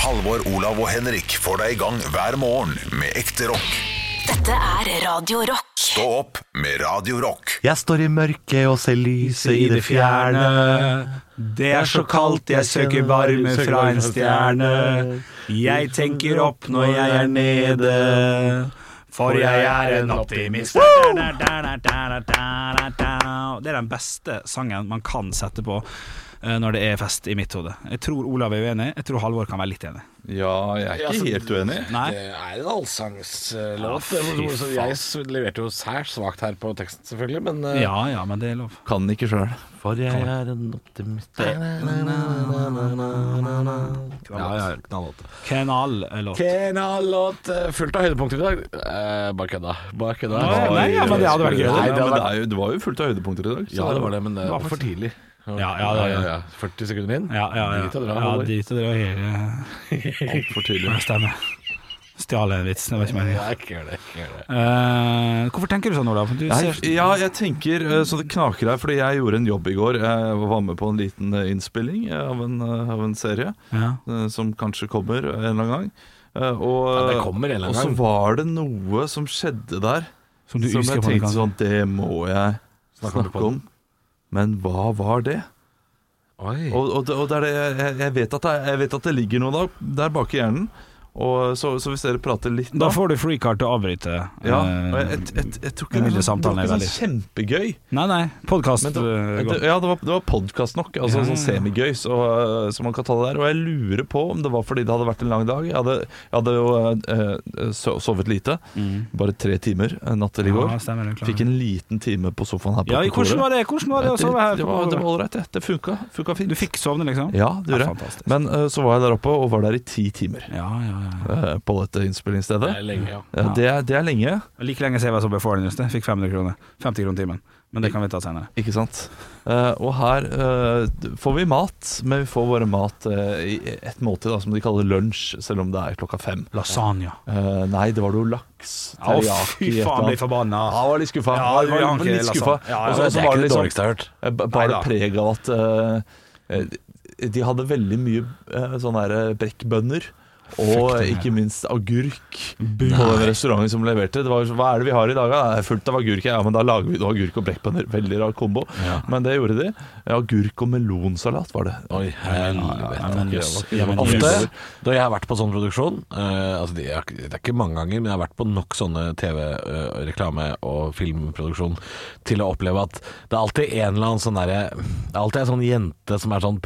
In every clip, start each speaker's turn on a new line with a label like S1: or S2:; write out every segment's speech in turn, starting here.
S1: Halvor, Olav og Henrik får deg i gang hver morgen med ekte rock.
S2: Dette er Radio Rock.
S1: Stå opp med Radio Rock.
S3: Jeg står i mørket og ser lyset i det fjerne.
S4: Det er så kaldt, jeg søker varme fra en stjerne. Jeg tenker opp når jeg er nede. For jeg er en optimist. Det er den beste sangen man kan sette på eh, når det er fest i mitt hode. Jeg tror Olav er uenig, jeg tror Halvor kan være litt enig.
S5: Ja, jeg er ikke
S6: altså,
S5: helt uenig.
S4: Nei?
S6: Det Eh, er en
S4: Ja,
S6: allsangslåt.
S4: fy
S6: Det- så
S4: faen.
S6: jeg s- leverte jo særs svakt her på teksten, selvfølgelig, men eh,
S4: Ja ja, men det er lov.
S5: Kan den ikke sjøl.
S3: For jeg er en optimist.
S4: Knall-låt.
S6: Kenalåt eh, fullt av høydepunkter i dag. Eh, bare kødda. Bare kødda.
S4: Nei, nei, ja, men det hadde vært gøy.
S5: men
S6: Nei, det hadde
S5: det,
S6: vært
S5: er jo, det var jo fullt av høydepunkter i dag. så
S6: Ja, det var det, men eh, det
S4: var
S6: var for
S4: faktisk-
S6: tidlig.
S4: Ja, ja, det-
S6: 40 sekunder inn.
S4: Ja, ja, ja.
S6: Dit og dra,
S4: ja
S6: Halvor.
S4: dit og dra hele
S5: altfor tydelig.
S4: Ja, Stemmer. Stjal en vits, det var ikke meningen.
S6: Ja, ikke gjør det. Ikke gjør det.
S4: Eh, hvorfor tenker du sånn, Olav? Du
S5: Nei,
S4: ser
S5: ja, jeg tenker eh, så det knaker her, fordi jeg gjorde en jobb i går. Jeg var med på en liten eh, innspilling eh, av en, eh, av en serie
S4: ja.
S5: eh, som kanskje kommer en eller annen gang. Eh, Og,
S6: Ja, det kommer en eller
S5: og
S6: annen
S5: så
S6: gang.
S5: var det noe som skjedde der
S4: Som du
S5: som
S4: husker
S5: jeg
S4: på
S5: tenkte
S4: noen gang.
S5: sånn Det må jeg
S6: Snakker du på
S5: snakke om. Men hva var det?
S6: Oi.
S5: Mm. Og, og, det- og det er det, jeg, jeg, vet at det, jeg vet at det ligger noe der, der bak i hjernen. Og, så, så hvis dere prater litt
S4: Da får du freecard til å avbryte.
S5: sånn- ja,
S4: eh,
S5: og jeg, jeg, jeg, jeg tror ikke
S4: den
S5: det,
S4: lille
S5: var sånn- det
S4: samtalen
S5: var
S4: er
S5: ikke sånn kjempegøy.
S4: nei, nei. eh, Podkast
S5: Men det, det,
S4: går.
S5: ja, det var, det var podkast nok. Altså
S4: Ja.
S5: sånn semigøy, så, eh, som man kan ta det der. Og jeg lurer på om det var fordi det hadde vært en lang dag. Jeg hadde, jeg hadde jo eh, eh, so- sovet lite. Bare tre timer eh, natt til i går.
S4: Mm. Ja, stemmer det, klar.
S5: Fikk en liten time på sofaen her på
S4: Ja, hvordan
S5: kontoret.
S4: var det Hvordan var det å sove her?
S5: det var det var ålreit, det. Det funka. funka fint.
S4: Du fikk sovne, liksom?
S5: Ja, det gjorde jeg.
S4: fantastisk.
S5: Men eh, så var jeg der oppe og var der i ti timer
S4: Ja, ja, ja.
S5: eh, på dette innspillingsstedet.
S6: Det er lenge, ja.
S5: Eh, det, er, det er lenge,
S4: Like lenge som jeg var som before news. Fikk 500 kroner. 50 kroner timen. Men det kan vi ta senere.
S5: ikke sant? Eh, og her eh, får vi mat, men vi får bare mat eh, i et måltid, da, som de kaller lunsj, selv om det er klokka fem.
S4: Lasagna.
S5: Eh, nei, det var jo laks.
S4: Å,
S5: teriyaki,
S4: fy
S5: et eller
S4: faen,
S5: annet.
S4: blir forbanna.
S5: Ja, jeg var litt skuffa.
S4: Ja,
S5: Jeg
S4: vi har
S5: var
S4: ikke
S5: litt skuffa.
S4: lasagna. altså. Ja, ja,
S5: Og så-
S4: det er
S5: så var det liksom
S6: jeg har hørt.
S5: eh, ba-
S4: Neida.
S5: bare preg av at eh, eh, de hadde veldig mye eh, sånne her eh, brekkbønner. Og
S4: Fuck, det er-
S5: ikke minst agurk på den restauranten som leverte. Det var, jo så- hva er det vi har i dag? da? Det er fullt av agurk. Ja, men da lager vi noe agurk og brekkbønner. Veldig rar kombo. Men det gjorde de. Agurk og melonsalat var det.
S6: Oi,
S4: Ja, men
S6: helvete.
S4: jøss. Ja, men
S6: Ofte
S4: jøss.
S6: da jeg har vært på sånn produksjon eh, altså det, er, det er ikke mange ganger, men jeg har vært på nok sånne TV-reklame- og filmproduksjon til å oppleve at det er alltid en eller annen sånn derre Det er alltid ei sånn jente som er sånn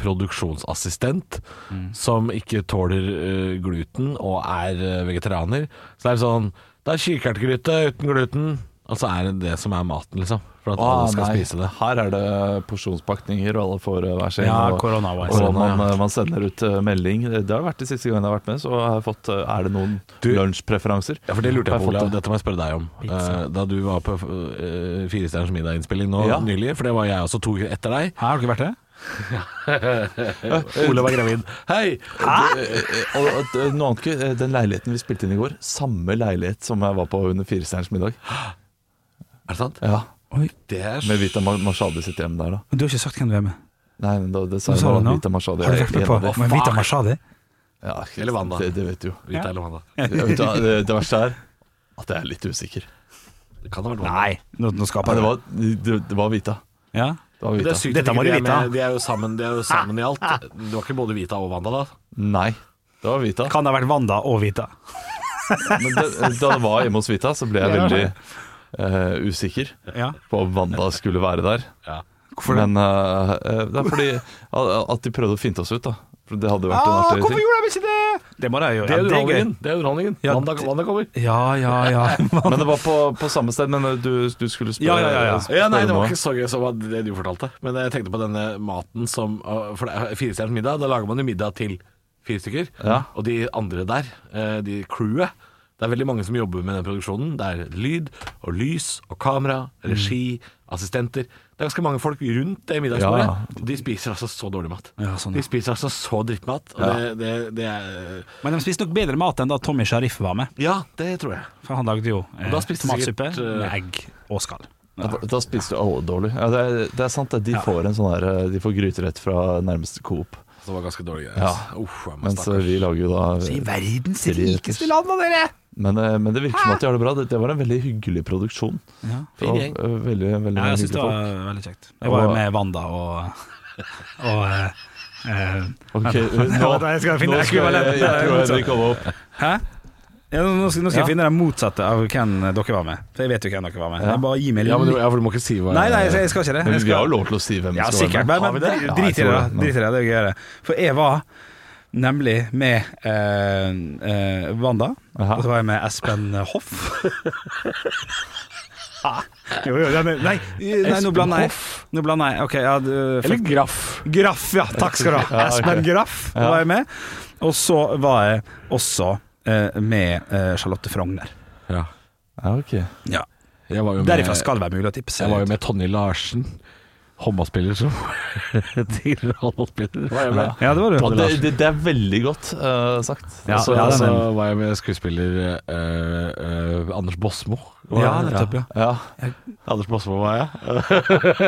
S6: produksjonsassistent,
S4: Mm.
S6: som ikke tåler eh, gluten og er eh, vegetarianer. Så det er sånn Det er kikertgryte uten gluten, og så er det det som er maten, liksom. For at alle skal spise det.
S5: Ah, Her er det porsjonspakninger, og alle får eh, hver sin.
S4: Ja,
S5: og-
S4: corona-wise.
S5: og man,
S6: Corona,
S5: man sender ut eh, melding. Det har vært de siste gangene jeg har vært med, så har jeg fått eh, Er det noen
S6: Du-
S5: lunsjpreferanser?
S6: Ja, for det lurte
S5: Har
S6: jeg på,
S5: fått
S6: Olav.
S5: det?
S6: Dette må jeg spørre deg om. Eh, da du var på uh, Firestjerners middag-innspilling nå
S5: Ja.
S6: nylig, for det var jeg også to uker etter deg.
S4: Her har dere vært det?
S6: Olav var gravid. Hei!
S5: Eh, Og, og, eh, noe annet, ikke, eh, den leiligheten vi spilte inn i går, samme leilighet som jeg var på under Firestjerners middag.
S6: Er det sant?
S5: Ja,
S6: Det er
S5: Med Vita Ma- Mashadi sitt hjem der, da.
S4: Men Du har ikke sagt hvem du er med.
S5: Nei, men da, det sa
S4: Hva
S5: jeg
S4: sa
S5: bare
S4: du nå?
S5: Vita Mashadi.
S4: Har du vært med på
S5: Ja,
S4: Men Vita Mashadi?
S5: ja,
S6: Eller Wanda.
S5: Det, det vet du jo.
S6: Vita eller Wanda.
S5: Ja, vet du hva, Det, det verste er at jeg er litt usikker.
S6: Det kan ha vært Wanda.
S4: Nei, nå, nå
S5: Ja,
S4: skaper jeg
S5: det,
S4: det.
S5: var, det, det var Vita.
S4: Ja.
S5: Det var
S6: Det er
S5: Vita.
S6: sykt
S4: Dette
S6: at
S4: må
S6: ikke
S4: du
S6: de er
S4: vite.
S6: med. De er jo sammen, de er jo sammen i alt. Det var ikke både Vita og Wanda, da?
S5: Nei, det var Vita.
S4: Kan det ha vært Wanda og Vita?
S5: Men det, da det var hjemme hos Vita, så ble jeg veldig eh, usikker
S4: Ja.
S5: på om Wanda skulle være der.
S6: Ja.
S4: Hvorfor det?
S5: Men eh, eh, det er fordi at de prøvde å finte oss ut, da. For det hadde jo vært en
S4: Ah,
S5: artig
S4: hvorfor
S5: ting.
S4: gjorde de ikke det? Det må de gjøre.
S6: Det er
S4: Ja,
S6: underholdningen. Det er underholdningen.
S4: Ja,
S6: Wanda,
S4: det-
S6: Wanda kommer.
S4: Ja, ja, ja.
S5: Men det var på, på samme sted. Men eh, du, du skulle spørre
S4: Ja, ja, ja, ja.
S5: spørre
S6: Ja, nei, Det
S5: noe.
S6: var
S4: sånn.
S6: ikke så gøy som at det du fortalte. Men jeg tenkte på denne maten som øh, For det er firestjerners middag, da lager man jo middag til fire stykker.
S5: Ja.
S6: Og de andre der, eh, de crewet Det er veldig mange som jobber med den produksjonen. Det er lyd og lys og kamera, regi,
S4: Mm.
S6: assistenter. Det er ganske mange folk rundt det middagsbordet.
S5: Ja.
S6: Og De spiser altså så dårlig mat.
S4: Ja, sånn, ja.
S6: De spiser altså så drittmat. Og det, det, det er
S4: Men de spiste nok bedre mat enn da Tommy Sharif var med.
S6: Ja, det tror jeg.
S4: For han lagde jo eh,
S6: Og da spiste
S4: tomatsuppe
S6: sikkert, eh,
S4: med egg og skall.
S5: Da, da spiste du oh, dårlig. Ja, det, er, det er sant, det. De
S4: Ja.
S5: får en sånn her eh, De får gryterett fra nærmeste Coop.
S6: Så det var ganske dårlig greier.
S5: Ja.
S6: altså. Uff, jeg må
S5: Mens eh,
S6: stakkars.
S5: vi lager jo
S4: I
S5: da
S4: verdens
S5: Seriøst.
S4: rikeste land, da, dere!
S5: men, eh, men det virker som at de har det bra. Det, det var en veldig hyggelig produksjon.
S4: Ja.
S5: Det var, eh, veldig, veldig
S4: Ja, jeg syns det
S5: hyggelige folk.
S4: var veldig kjekt. Jeg var jo
S5: Og-
S4: med Wanda og, og eh, eh,
S5: Ok,
S4: nå, jeg skal finne
S5: nå skal jeg,
S4: ekvivalenten.
S5: jeg tror jeg vil
S4: Motsatt.
S5: komme opp.
S4: Hæ? Ja, nå nå skal, nå skal
S5: Ja.
S4: jeg finne den motsatte av hvem dere var med. For jeg vet jo hvem dere var med.
S5: Ja.
S4: Jeg bare gi meg litt
S6: Ja, men du, ja, for du må ikke si hva
S4: Nei, nei, jeg skal- jeg skal ikke det.
S5: Men
S4: Jeg
S5: vi har
S4: skal...
S5: jo lov til å si hvem
S4: Ja,
S5: som
S4: sikkert.
S5: skal
S4: Men,
S5: være
S4: men
S5: med.
S4: drit
S5: Ja, jeg
S4: drit i det,
S5: tror
S4: da.
S5: men-
S4: Drit i det, det er gøyere. For jeg var nemlig med eh, eh, Wanda,
S5: Aha.
S4: og så var jeg med Espen Hoff. Ah, jo, jo, ja, men- nei, nei, nå blander jeg. Nå blander jeg. Ok, ja, du,
S6: Eller graff.
S4: Graff, ja. Takk skal du ha.
S5: Ja, ok.
S4: Espen Graff
S5: Ja.
S4: var jeg med. Og så var jeg også eh, med eh, Charlotte Frogner.
S6: Ja.
S5: Ja, ok.
S4: Ja.
S6: Jeg var jo med,
S4: Derifra skal det være mulig å tipse.
S6: jeg var jo med Tonje Larsen, håndballspiller som tidligere håndballspiller. Var jeg med.
S4: Ja, det var du.
S5: Ja, det,
S4: Larsen.
S5: det, det er veldig godt eh, sagt.
S4: Ja,
S5: Altså,
S6: Så,
S4: det er
S6: så
S4: den.
S6: var jeg med skuespiller eh, eh, Anders Bosmo. Var
S4: Ja,
S6: jeg-
S4: nettopp, ja.
S5: ja.
S6: Anders Bosmo var jeg.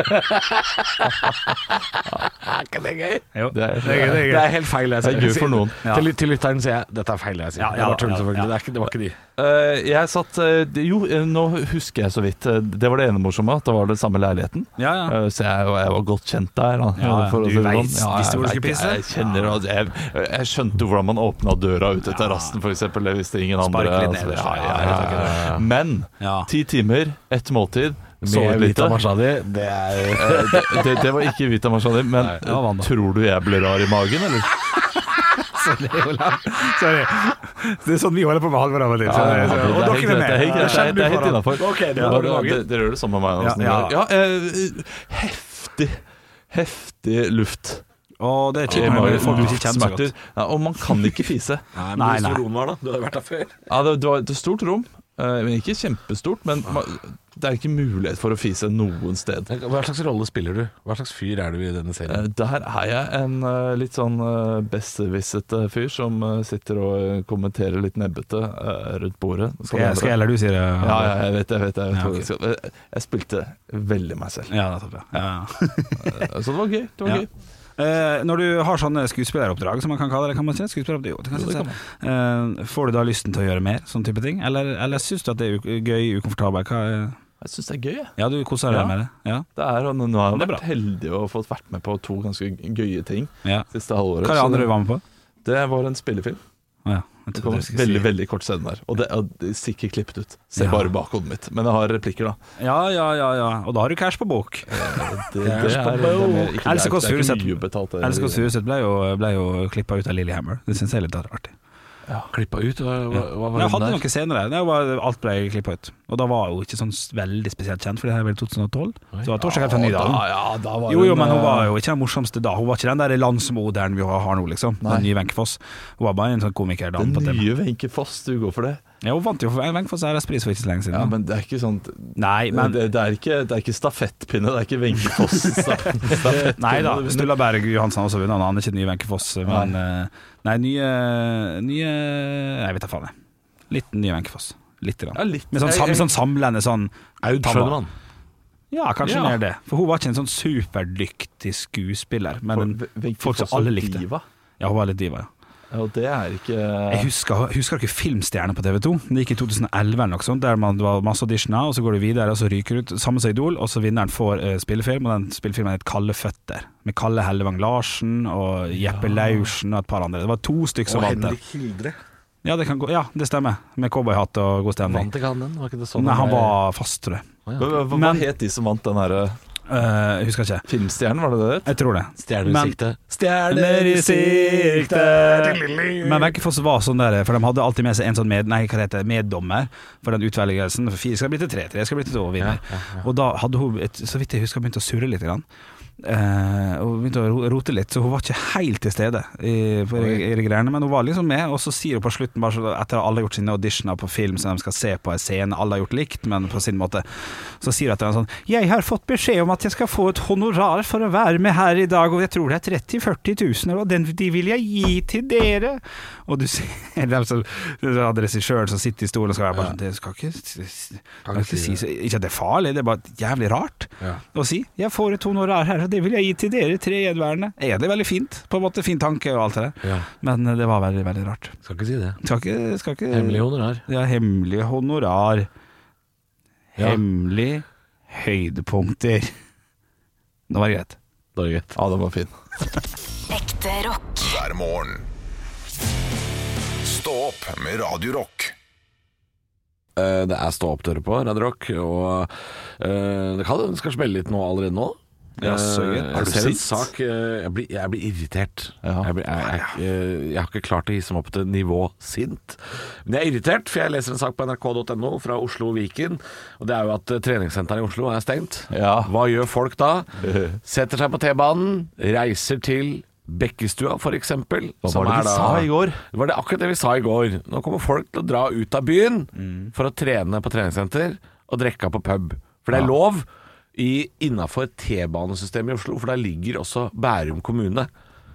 S6: er ikke det gøy?
S4: Jo.
S5: Det er,
S4: gøy, det er gøy.
S6: Det er helt feil det jeg
S5: Det er
S6: sier.
S5: gøy for noen.
S4: Ja.
S6: Til, til lytteren sier jeg dette er feil det jeg sier.
S4: Ja, ja,
S6: det var tull,
S4: ja,
S6: selvfølgelig.
S4: ja.
S6: Det, er ikke, det var ikke de.
S5: Eh, jeg satt eh, det- Jo, eh, nå husker jeg så vidt. Eh, Det var det ene morsomme, at det var den samme leiligheten.
S4: Ja, ja.
S5: Eh, så jeg, og jeg var godt kjent der. Da,
S4: Ja, ja,
S5: for
S4: du
S5: å si det
S4: vet
S5: sånn. Ja,
S4: visste
S5: jeg
S4: hvor du
S5: vet,
S4: skulle pisse.
S5: Jeg, kjenner at jeg, jeg skjønte jo hvordan man åpna døra ut til terrassen, f.eks. Det visste ingen andre.
S4: Spark litt
S5: altså,
S4: nederst,
S5: ja, ja,
S4: ja,
S5: ja,
S4: jeg
S5: ja, ja. Men
S4: Ja.
S5: ti timer, ett måltid, sovet
S6: Med Vita
S5: lite.
S6: Mashadi, det er
S5: Eh, det, det, det var ikke Vita Mashadi, men
S4: det var Wanda.
S5: tror du jeg ble rar i magen, eller?
S4: Sorry. Det er sånn vi holder på med Halvor av og til.
S5: Ja, ja,
S4: så- Og
S5: det, er
S4: dere er
S5: helt- det
S4: med.
S5: er helt greit. Det er- det er helt innafor.
S6: det var det laget.
S5: Dere gjør det samme med meg. Nansen.
S4: Ja,
S5: ja eh, heftig Heftig luft.
S4: Og det er
S5: i
S4: kjipt når det
S5: magen.
S4: er folk du ikke kjenner så godt.
S5: Luftsmerter. Ja, og man kan ikke fise.
S6: Nei,
S4: Nei, nei.
S6: var da? Du hadde vært der før.
S5: Ja, det, det var et stort rom, eh, men ikke kjempestort. Men man, det er ikke mulighet for å fise noen sted.
S6: Hva slags rolle spiller du? Hva slags fyr er du i denne serien?
S5: Eh, Der er jeg en eh, litt sånn eh, besserwissete fyr som eh, sitter og eh, kommenterer litt nebbete eh, rundt bordet. på
S4: Skal jeg,
S5: det
S4: skal jeg
S5: andre.
S4: eller du sier det?
S5: ja, ja, jeg vet jeg vet, jeg, vet
S4: Ja,
S5: hvor
S4: ok.
S5: det skal- Eh, jeg spilte veldig meg selv.
S4: Ja, nettopp, ja. ja. ja.
S5: Eh, Så det var gøy. Det var
S4: Ja.
S5: gøy.
S4: Eh, når du har sånne skuespilleroppdrag, som man kan kalle det, kan man si det? Skuespilleroppdrag, jo, det kan man
S5: Jo, det
S4: si.
S5: kan man.
S4: Eh, får du da lysten til å gjøre mer, sånn type ting? Eller, eller syns du at det er u gøy, ukomfortabel? Hva, er-
S5: Jeg syns det er gøy, jeg.
S4: ja, du koser deg
S5: Ja.
S4: med det? Ja.
S5: Det er, og nå har jeg
S4: Det er
S5: vært heldig og fått vært med på to ganske gøye ting
S4: ja.
S5: siste halvåret.
S4: Hva er det
S5: så
S4: andre du var med på?
S5: det var en spillefilm.
S4: Å ja. Jeg
S5: sånn Det
S4: trodde
S5: kom
S4: du
S5: en
S4: skulle si-
S5: veldig veldig kort scene der. Og det og det er sikkert klippet ut. Se
S4: Ja.
S5: bare bakhodet mitt. Men jeg har replikker, da.
S4: Ja, ja, ja, ja. Og da har du cash på bok.
S5: Det, det er, det er, mer- ikke- det er,
S4: Else Kåss
S5: det er
S4: Furuseth.
S5: ikke mye betalt. det-
S4: Else Kåss Furuseth ble jo, ble jo klippa ut av Lillehammer. Det syns jeg er litt artig.
S6: Klippa ut? Hva, hva, hva
S4: Men jeg
S6: var
S4: hadde
S6: hun der?
S4: noen scener der. Det var, alt ble klippa ut. Og da var hun ikke sånn s- veldig spesielt kjent, for det her er vel 2012? Så det var Torsdag helt fra
S5: Ja,
S4: Nydalen.
S5: ja, da var
S4: Jo, jo,
S5: hun,
S4: men hun
S5: eh,
S4: var jo ikke den morsomste da. Hun var ikke den der landsmoderen vi har nå, liksom. Den nye Wenche Foss. Hun var bare en sånn komikerdame
S5: Den
S4: på TV.
S5: nye Wenche Foss, du går for det?
S4: Ja, hun vant jo for Wenche Foss RS-pris for ikke så lenge siden. da.
S5: Ja, men det er ikke sånn
S4: Nei, men
S5: det, det, er ikke, det er ikke stafettpinne, det er ikke Wenche Foss. stafett-
S4: Nei da,
S5: det-
S4: Sturla Berg Johansen har også vunnet. Han er ikke den nye Wenche Foss, men eh, Nei, nye Nye Nei, jeg vet da faen, jeg. Litt nye Wenche Foss. Lite grann.
S5: Ja, litt.
S4: Med sånn, sam, sånn samlende sånn
S6: Aud
S4: Tabba.
S6: Schønemann.
S4: Ja, kanskje
S5: Ja.
S4: mer det. For hun var ikke en sånn superdyktig skuespiller, men
S5: For- Wenche
S4: folk som
S5: Foss og
S4: alle likte.
S5: Diva.
S4: Ja, hun var litt diva, ja.
S5: Ja, Og det er ikke
S4: Jeg husker, husker dere Filmstjerne på TV 2? Det gikk i 2011 eller noe sånt, der man det var masse auditioner, og så går du videre, og så ryker du ut. Samme som Idol, og så vinneren får eh, spillefilm, og den spillefilmen het Kalde føtter. Med Kalle Hellevang Larsen og Jeppe Laursen og et par andre. Det var to stykker som vant der.
S6: Hildre.
S4: Ja, det kan gå, ja, det stemmer. Med cowboyhatt og god stemning.
S6: Vant ikke han den? Var ikke det sånn?
S4: Nei, han var fast, tror jeg.
S5: Hva, hva, hva
S4: Men-
S5: het de som vant den her eh,
S4: Eh, husker ikke.
S5: filmstjernen, var det det? het?
S4: Jeg tror det.
S6: Stjerner i
S4: Men-
S6: sikte.
S4: Stjerner i sikte Men Wenchefoss var sånn der, for de hadde alltid med seg en sånn med, nei, hva det heter, meddommer for den utvelgelsen. For Fire skal bli til tre, tre skal bli til to, og vinner. Og da hadde hun, et, så vidt jeg husker, begynt å surre litt. Grann. Eh, og begynte å ro- rote litt, så hun var ikke helt til stede i, for, i, i de greiene. Men hun var liksom med, og så sier hun på slutten, bare så, etter at alle har gjort sine auditioner på film som de skal se på en scene, alle har gjort likt, men på sin måte, så sier hun etter en sånn Jeg har fått beskjed om at jeg skal få et honorar for å være med her i dag, og jeg tror det er 30 000-40 000, og den, de vil jeg gi til dere. Og du ser dem som altså, så hadde regissøren som sitter i stolen og skal være bare sånn Det skal ikke, skal ikke si så Ikke at det er farlig, det er bare jævlig rart
S6: Ja.
S4: å si. Jeg får et honorar her, og det vil jeg gi til dere tre gjenværende. Egentlig veldig fint, på en måte. Fin tanke og alt det der.
S6: Ja.
S4: Men eh, det var veldig, veldig rart.
S6: Skal ikke si det.
S4: Skal ikke, skal ikke
S6: Hemmelig honorar.
S4: Ja, hemmelig honorar.
S6: Ja.
S4: Hemmelig høydepunkter. Nå var det greit.
S6: Da er det greit.
S5: Ja, den var fin.
S2: Ekte rock.
S1: hver morgen. Stå opp med Radio Rock.
S6: Eh, Det er stå opp dører på Radio Rock, og eh, det kan det skal smelle litt nå allerede nå.
S4: Ja, så gøy.
S6: Eh,
S4: Er
S6: Jeg
S4: du
S6: ser en
S4: sint?
S6: sak eh, Jeg blir, jeg blir irritert.
S5: Ja.
S6: Jeg, blir, jeg, jeg, eh, jeg har ikke klart å hisse meg opp til nivå sint. Men jeg er irritert, for jeg leser en sak på nrk.no fra Oslo og Viken. Og det er jo at eh, treningssenteret i Oslo er stengt.
S5: Ja.
S6: Hva gjør folk da? Setter seg på T-banen, reiser til Bekkestua f.eks. Hva
S5: var det vi sa i går?
S6: det var det akkurat det vi sa i går. Nå kommer folk til å dra ut av byen
S5: Mm.
S6: for å trene på treningssenter og drikke på pub. For det er lov innafor T-banesystemet i Oslo, for der ligger også Bærum kommune.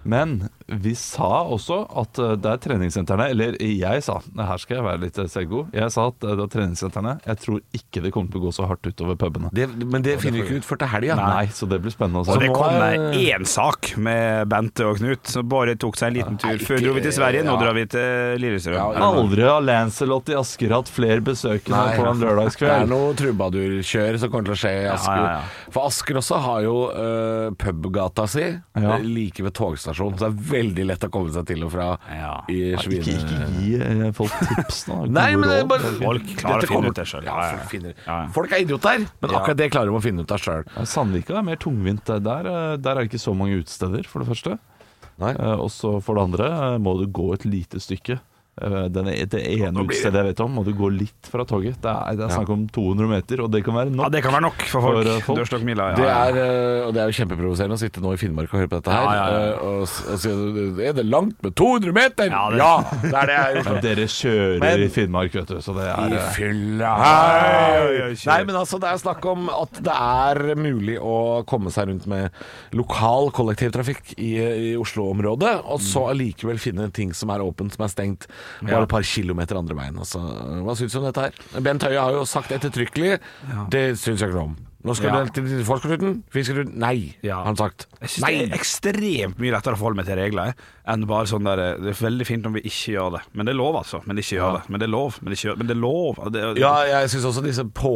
S5: Men vi sa også at eh, det er treningssentrene Eller jeg sa, her skal jeg være litt eh, selvgod. Jeg sa at eh, det er treningssentrene. Jeg tror ikke det kommer til å gå så hardt utover pubene.
S6: Det, men det finner vi ikke ut før til helga.
S5: Nei, så det blir spennende å
S4: Og
S5: se.
S4: det
S6: nå
S4: kom
S6: er-
S4: én sak med Bente og Knut. Så bare tok seg en liten tur. Før dro vi til Sverige, nå
S6: ja.
S4: drar vi til Lillestrøm.
S5: Aldri har Lancelot i Asker hatt flere besøkende
S6: Nei.
S5: på en
S6: Det er
S5: lørdagskveld.
S6: noe trubadurkjør som kommer til å skje i Asker.
S4: ja, ja.
S6: For Asker også har jo eh, pubgata si
S5: Ja.
S6: eh, like ved togstasjonen, så det er veldig lett å komme seg til og fra
S4: Ja.
S6: i
S5: Ja, Ikke,
S6: Svine...
S5: ikke gi eh, folk tips nå.
S6: Nei,
S5: Gode
S6: men det er
S5: råd.
S6: bare
S4: Folk klarer
S6: Dette
S4: å finne
S6: kommer-
S4: ut det selv. Ja,
S6: Ja,
S4: ja, ja.
S6: folk, finner.
S4: Ja, ja.
S6: folk er idioter, men
S4: Ja.
S6: akkurat det klarer de å finne ut av sjøl.
S5: Ja, Sandvika er mer tungvint. Der, eh, der er det ikke så mange utesteder, for det første.
S6: Nei.
S5: Eh, Og så for det andre eh, må du gå et lite stykke. Eh, Den, det ene
S6: blir det-
S5: utestedet jeg vet om, må du gå litt fra toget. Det er, det er snakk om 200 meter, og det kan være
S4: Ja,
S5: nok.
S4: det kan være nok for folk.
S5: For, eh, folk.
S4: Dørstokkmila.
S6: Det er, eh, og det er jo kjempeprovoserende å sitte nå i Finnmark og høre på dette her.
S4: Ja, ja, ja.
S6: eh, Og, s- og si Er det langt med 200 meter?! Ja,
S4: Ja, det-
S6: det, er det jeg har
S5: Men
S6: gjort.
S5: Dere kjører
S6: Men-
S5: i Finnmark, vet du, så det er
S6: I
S5: eh,
S6: fylla
S4: ja, ja,
S6: hei!
S4: kjør.
S6: Nei, men altså, det er snakk om at det er mulig å komme seg rundt med lokal kollektivtrafikk i, i Oslo-området, og
S4: Mm.
S6: så allikevel finne ting som er åpent, som er stengt, bare et par kilometer andre veien. Altså, hva syns du om dette her? Bent Høie har jo sagt ettertrykkelig Det syns jeg ikke noe om. Nå skal
S4: Ja.
S6: du til Forskertuten, Fiskertuten Nei,
S4: Ja.
S6: har han sagt.
S4: Jeg synes
S6: Nei!
S4: det er ekstremt mye lettere å forholde meg til regler jeg, enn bare sånn der Det er veldig fint om vi ikke gjør det. Men det er lov, altså. Men ikke gjør det. Men det er lov. Men, ikke gjør, men det er lov. Det er,
S6: Ja, jeg syns også disse, på,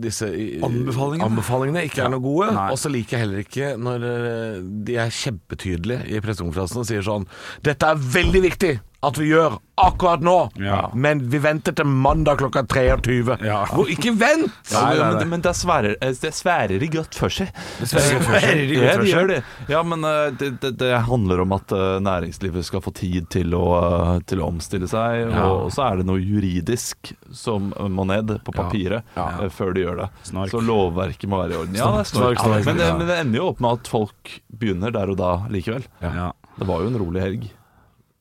S6: disse i-
S4: Anbefalingene.
S6: anbefalingene ikke er noe gode.
S4: Nei.
S6: Og så liker jeg heller ikke når eh, de er kjempetydelige i pressekonferansen og sier sånn Dette er veldig viktig at vi gjør akkurat nå,
S4: Ja.
S6: men vi venter til mandag klokka 23.
S4: Ja.
S6: Hvor, ikke vent!
S5: ja,
S4: Nei, nei, nei.
S5: men, men det er sværer, eh, det er sværer i godt for seg.
S4: sværer i godt
S5: Ja,
S4: for
S5: de
S4: seg.
S5: gjør det. Ja, men eh, det, det, det handler om at eh, næringslivet skal få tid til å, eh, til å omstille seg. Og så er det noe juridisk som eh, må ned på papiret eh, før de gjør det.
S4: Snark.
S5: Så lovverket må være i orden. Ja, det er
S6: Snark,
S5: snork.
S6: snark, snark.
S5: Men, det, men det ender jo opp med at folk begynner der og da likevel.
S4: ja.
S5: Det var jo en rolig helg.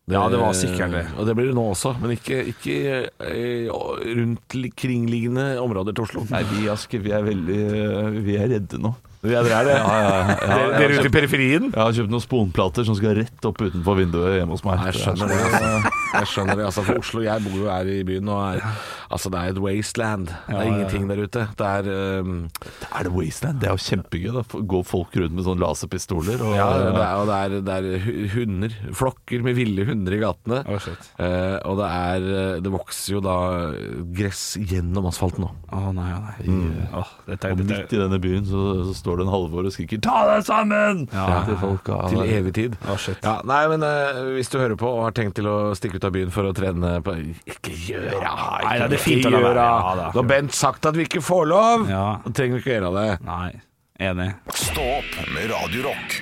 S4: Ja, det var sikkert det.
S6: Og det blir det nå også, men ikke, ikke eh, rundt li- kringliggende områder til Oslo.
S5: Nei, vi i Asker, vi er veldig eh, Vi er redde nå.
S6: Ja, dere er det. Dere-
S5: jeg har
S6: Dere ute i periferien?
S5: Jeg har kjøpt noen sponplater som skal rett opp utenfor vinduet hjemme hos meg.
S6: Nei, Jeg skjønner det. altså. Jeg skjønner det. Altså, for Oslo, jeg bor jo her i byen, og er, altså, det er et wasteland. Det er ingenting der ute. Det er um,
S5: Er det Wasteland? Det er jo kjempegøy. Da F- går folk rundt med sånne laserpistoler. Og,
S6: ja, det er, og det er, det er hu- hunder. Flokker med ville hunder i gatene.
S4: Å, shit.
S6: Eh, og det er eh, Det vokser jo da eh, gress gjennom asfalten nå.
S4: Å nei, å nei.
S6: Mm.
S4: Åh, dette,
S5: og midt
S4: dette,
S5: i denne byen så, så står det en Halvor og skriker 'ta deg sammen!'
S4: Ja.
S5: til folk. Ja,
S6: Til
S5: det-
S6: evig tid.
S4: Å, shit.
S6: Ja, nei, men eh, hvis du hører på og har tenkt til å stikke ut av byen for å trene på Ikke gjør det!
S4: Nei, det er fint å
S6: å
S4: la være.
S6: gjøre
S4: Ja, da.
S6: det. Når Bent sagt at vi ikke får lov,
S4: Ja.
S6: da trenger vi ikke gjøre det.
S4: Nei. Enig.
S1: Stå opp med Radio Rock.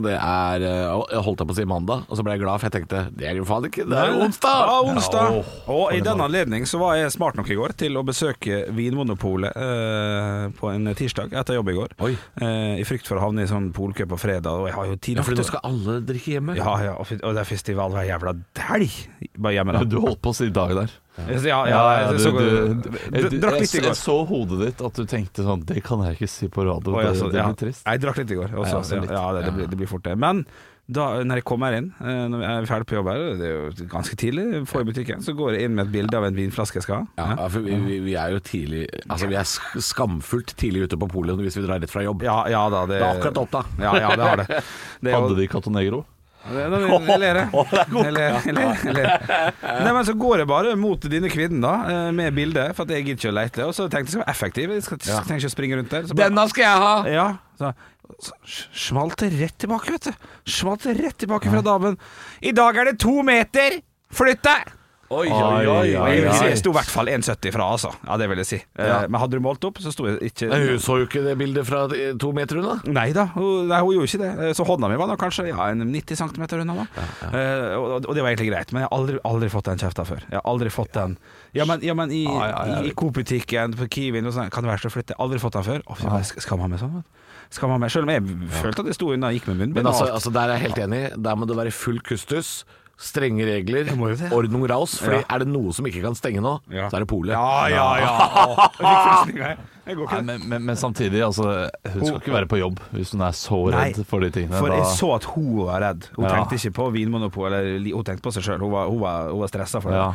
S6: Det er eh, Jeg holdt jeg på å si mandag, og så ble jeg glad, for jeg tenkte det er jo faen ikke, det er jo onsdag!
S4: Ja, onsdag. og i den anledning så var jeg smart nok i går til å besøke Vinmonopolet eh, på en tirsdag etter jobb i går.
S6: Oi.
S4: Eh, I frykt for å havne i sånn polkø på fredag, og jeg har jo tid
S6: Ja, fordi
S4: nok
S6: nå skal alle drikke hjemme.
S4: Ja, ja, og fi- og det er festival hver jævla helg bare hjemme da.
S5: Du holdt på å si dag der.
S4: Ja, ja, jeg så-
S5: jeg,
S4: Drakk litt i går.
S5: jeg så hodet ditt at du tenkte sånn Det kan jeg ikke si på radio,
S4: Å, ja,
S5: det,
S4: så-
S5: det
S4: ja.
S5: blir trist.
S4: Jeg drakk litt i går. Også,
S5: Ja, også
S4: ja,
S5: litt.
S4: ja, det, det, blir, det blir fort det. Men da, når jeg kommer inn, eh, når jeg er ferdig på jobb her, det er jo ganske tidlig, får i butikken, så går jeg inn med et bilde av en vinflaske jeg skal ha.
S6: Ja, for vi, vi, vi er jo tidlig Altså vi er sk- skamfullt tidlig ute på polet hvis vi drar rett fra jobb.
S4: Ja, ja da. Det,
S6: Det er akkurat åtta.
S4: Ja, ja, det har det. det er jo-
S5: Hadde de Catonegro?
S4: Ja, da- Jeg ler, jeg. Jeg ler, jeg ler, jeg ler. Nei, men så går jeg bare mot denne kvinnen, da, eh, med bildet, for at jeg gidder ikke å leite. Og så tenkte jeg skal være effektiv, jeg skal,
S6: Ja.
S4: trenger ikke å springe rundt der. Så bare-
S6: Denne skal jeg ha!
S4: Ja, så, så sj- smalt det rett tilbake, vet du. Smalt det rett tilbake fra damen. I dag er det to meter! Flytt deg!
S6: Oi,
S5: oi, oi,
S4: Og jeg, vil
S5: oi.
S4: si, jeg sto i hvert fall 1,70 fra, altså. Ja, det vil jeg si. Eh,
S6: Ja.
S4: Men hadde du målt opp, så sto jeg ikke
S6: Hun så jo ikke det bildet fra eh, to meter unna.
S4: Nei da, hun, nei, hun gjorde ikke det. Eh, Så hånda mi var nå kanskje ja, en 90 cm unna. da Eh, og, og det var egentlig greit, men jeg har aldri, aldri fått den kjefta før. Jeg har aldri fått den Ja, men, ja, men i,
S5: Ja, ja, ja.
S4: i, i Coop-butikken, på Kiwien og sånn, kan det være så flytt? Jeg har aldri fått den før. Å, fy, jeg sk- Skamma meg sånn. vet du. Skamma meg. Selv om jeg følte at jeg sto unna og gikk med munnbind.
S6: Men altså,
S4: og alt.
S6: altså der er jeg helt enig. Der må det være full kustus. Strenge regler,
S4: må jo det.
S6: ordnung raus. Fordi
S4: Ja.
S6: er det noe som ikke kan stenge nå,
S4: Ja.
S6: så er det polet.
S4: Ja, ja, ja. Å, jeg fikk frysninger, jeg. Jeg går
S5: Nei,
S4: ikke.
S5: men, men, men samtidig, altså Hun skal ikke være på jobb hvis hun er så redd
S4: Nei,
S5: for de tingene.
S4: For jeg
S5: Da-
S4: så at hun var redd. Hun
S5: Ja.
S4: tenkte ikke på Vinmonopolet, eller li- hun tenkte på seg sjøl. Hun var, hun var, hun var stressa for det.
S5: Ja.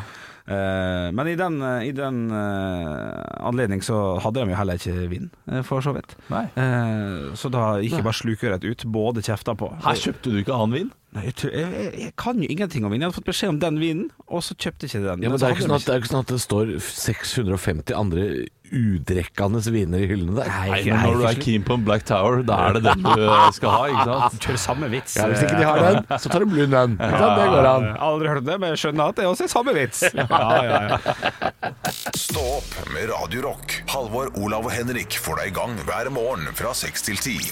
S4: Eh, men i den, eh, i den eh, anledning så hadde de jo heller ikke vin, eh, for så vidt.
S5: Nei.
S4: Eh, så da gikk jeg bare slukøret ut, både kjefta på.
S5: Her kjøpte du ikke annen vin?
S4: Nei, jeg, tror- jeg, jeg, jeg kan jo ingenting om vin. Jeg hadde fått beskjed om den vinen, og så kjøpte jeg ikke den.
S6: Ja,
S4: så
S6: men det er jo
S4: hadde
S6: ikke,
S4: de
S6: sånn at- det er jo ikke sånn at det står 650 andre udrekkende viner i hyllene der.
S4: Nei,
S5: Men når du er keen på en Black Tower, da er det den du eh, skal ha, ikke sant?
S4: Kjører samme vits.
S6: Ja, hvis ikke de har den, så tar de blund den. Ikke sant? Det går an.
S4: Eh, Aldri hørt om det, men jeg skjønner at det også er samme vits.
S1: Stå opp med Radio Rock. Halvor, Olav og Henrik får deg i gang hver morgen fra 6 til 10.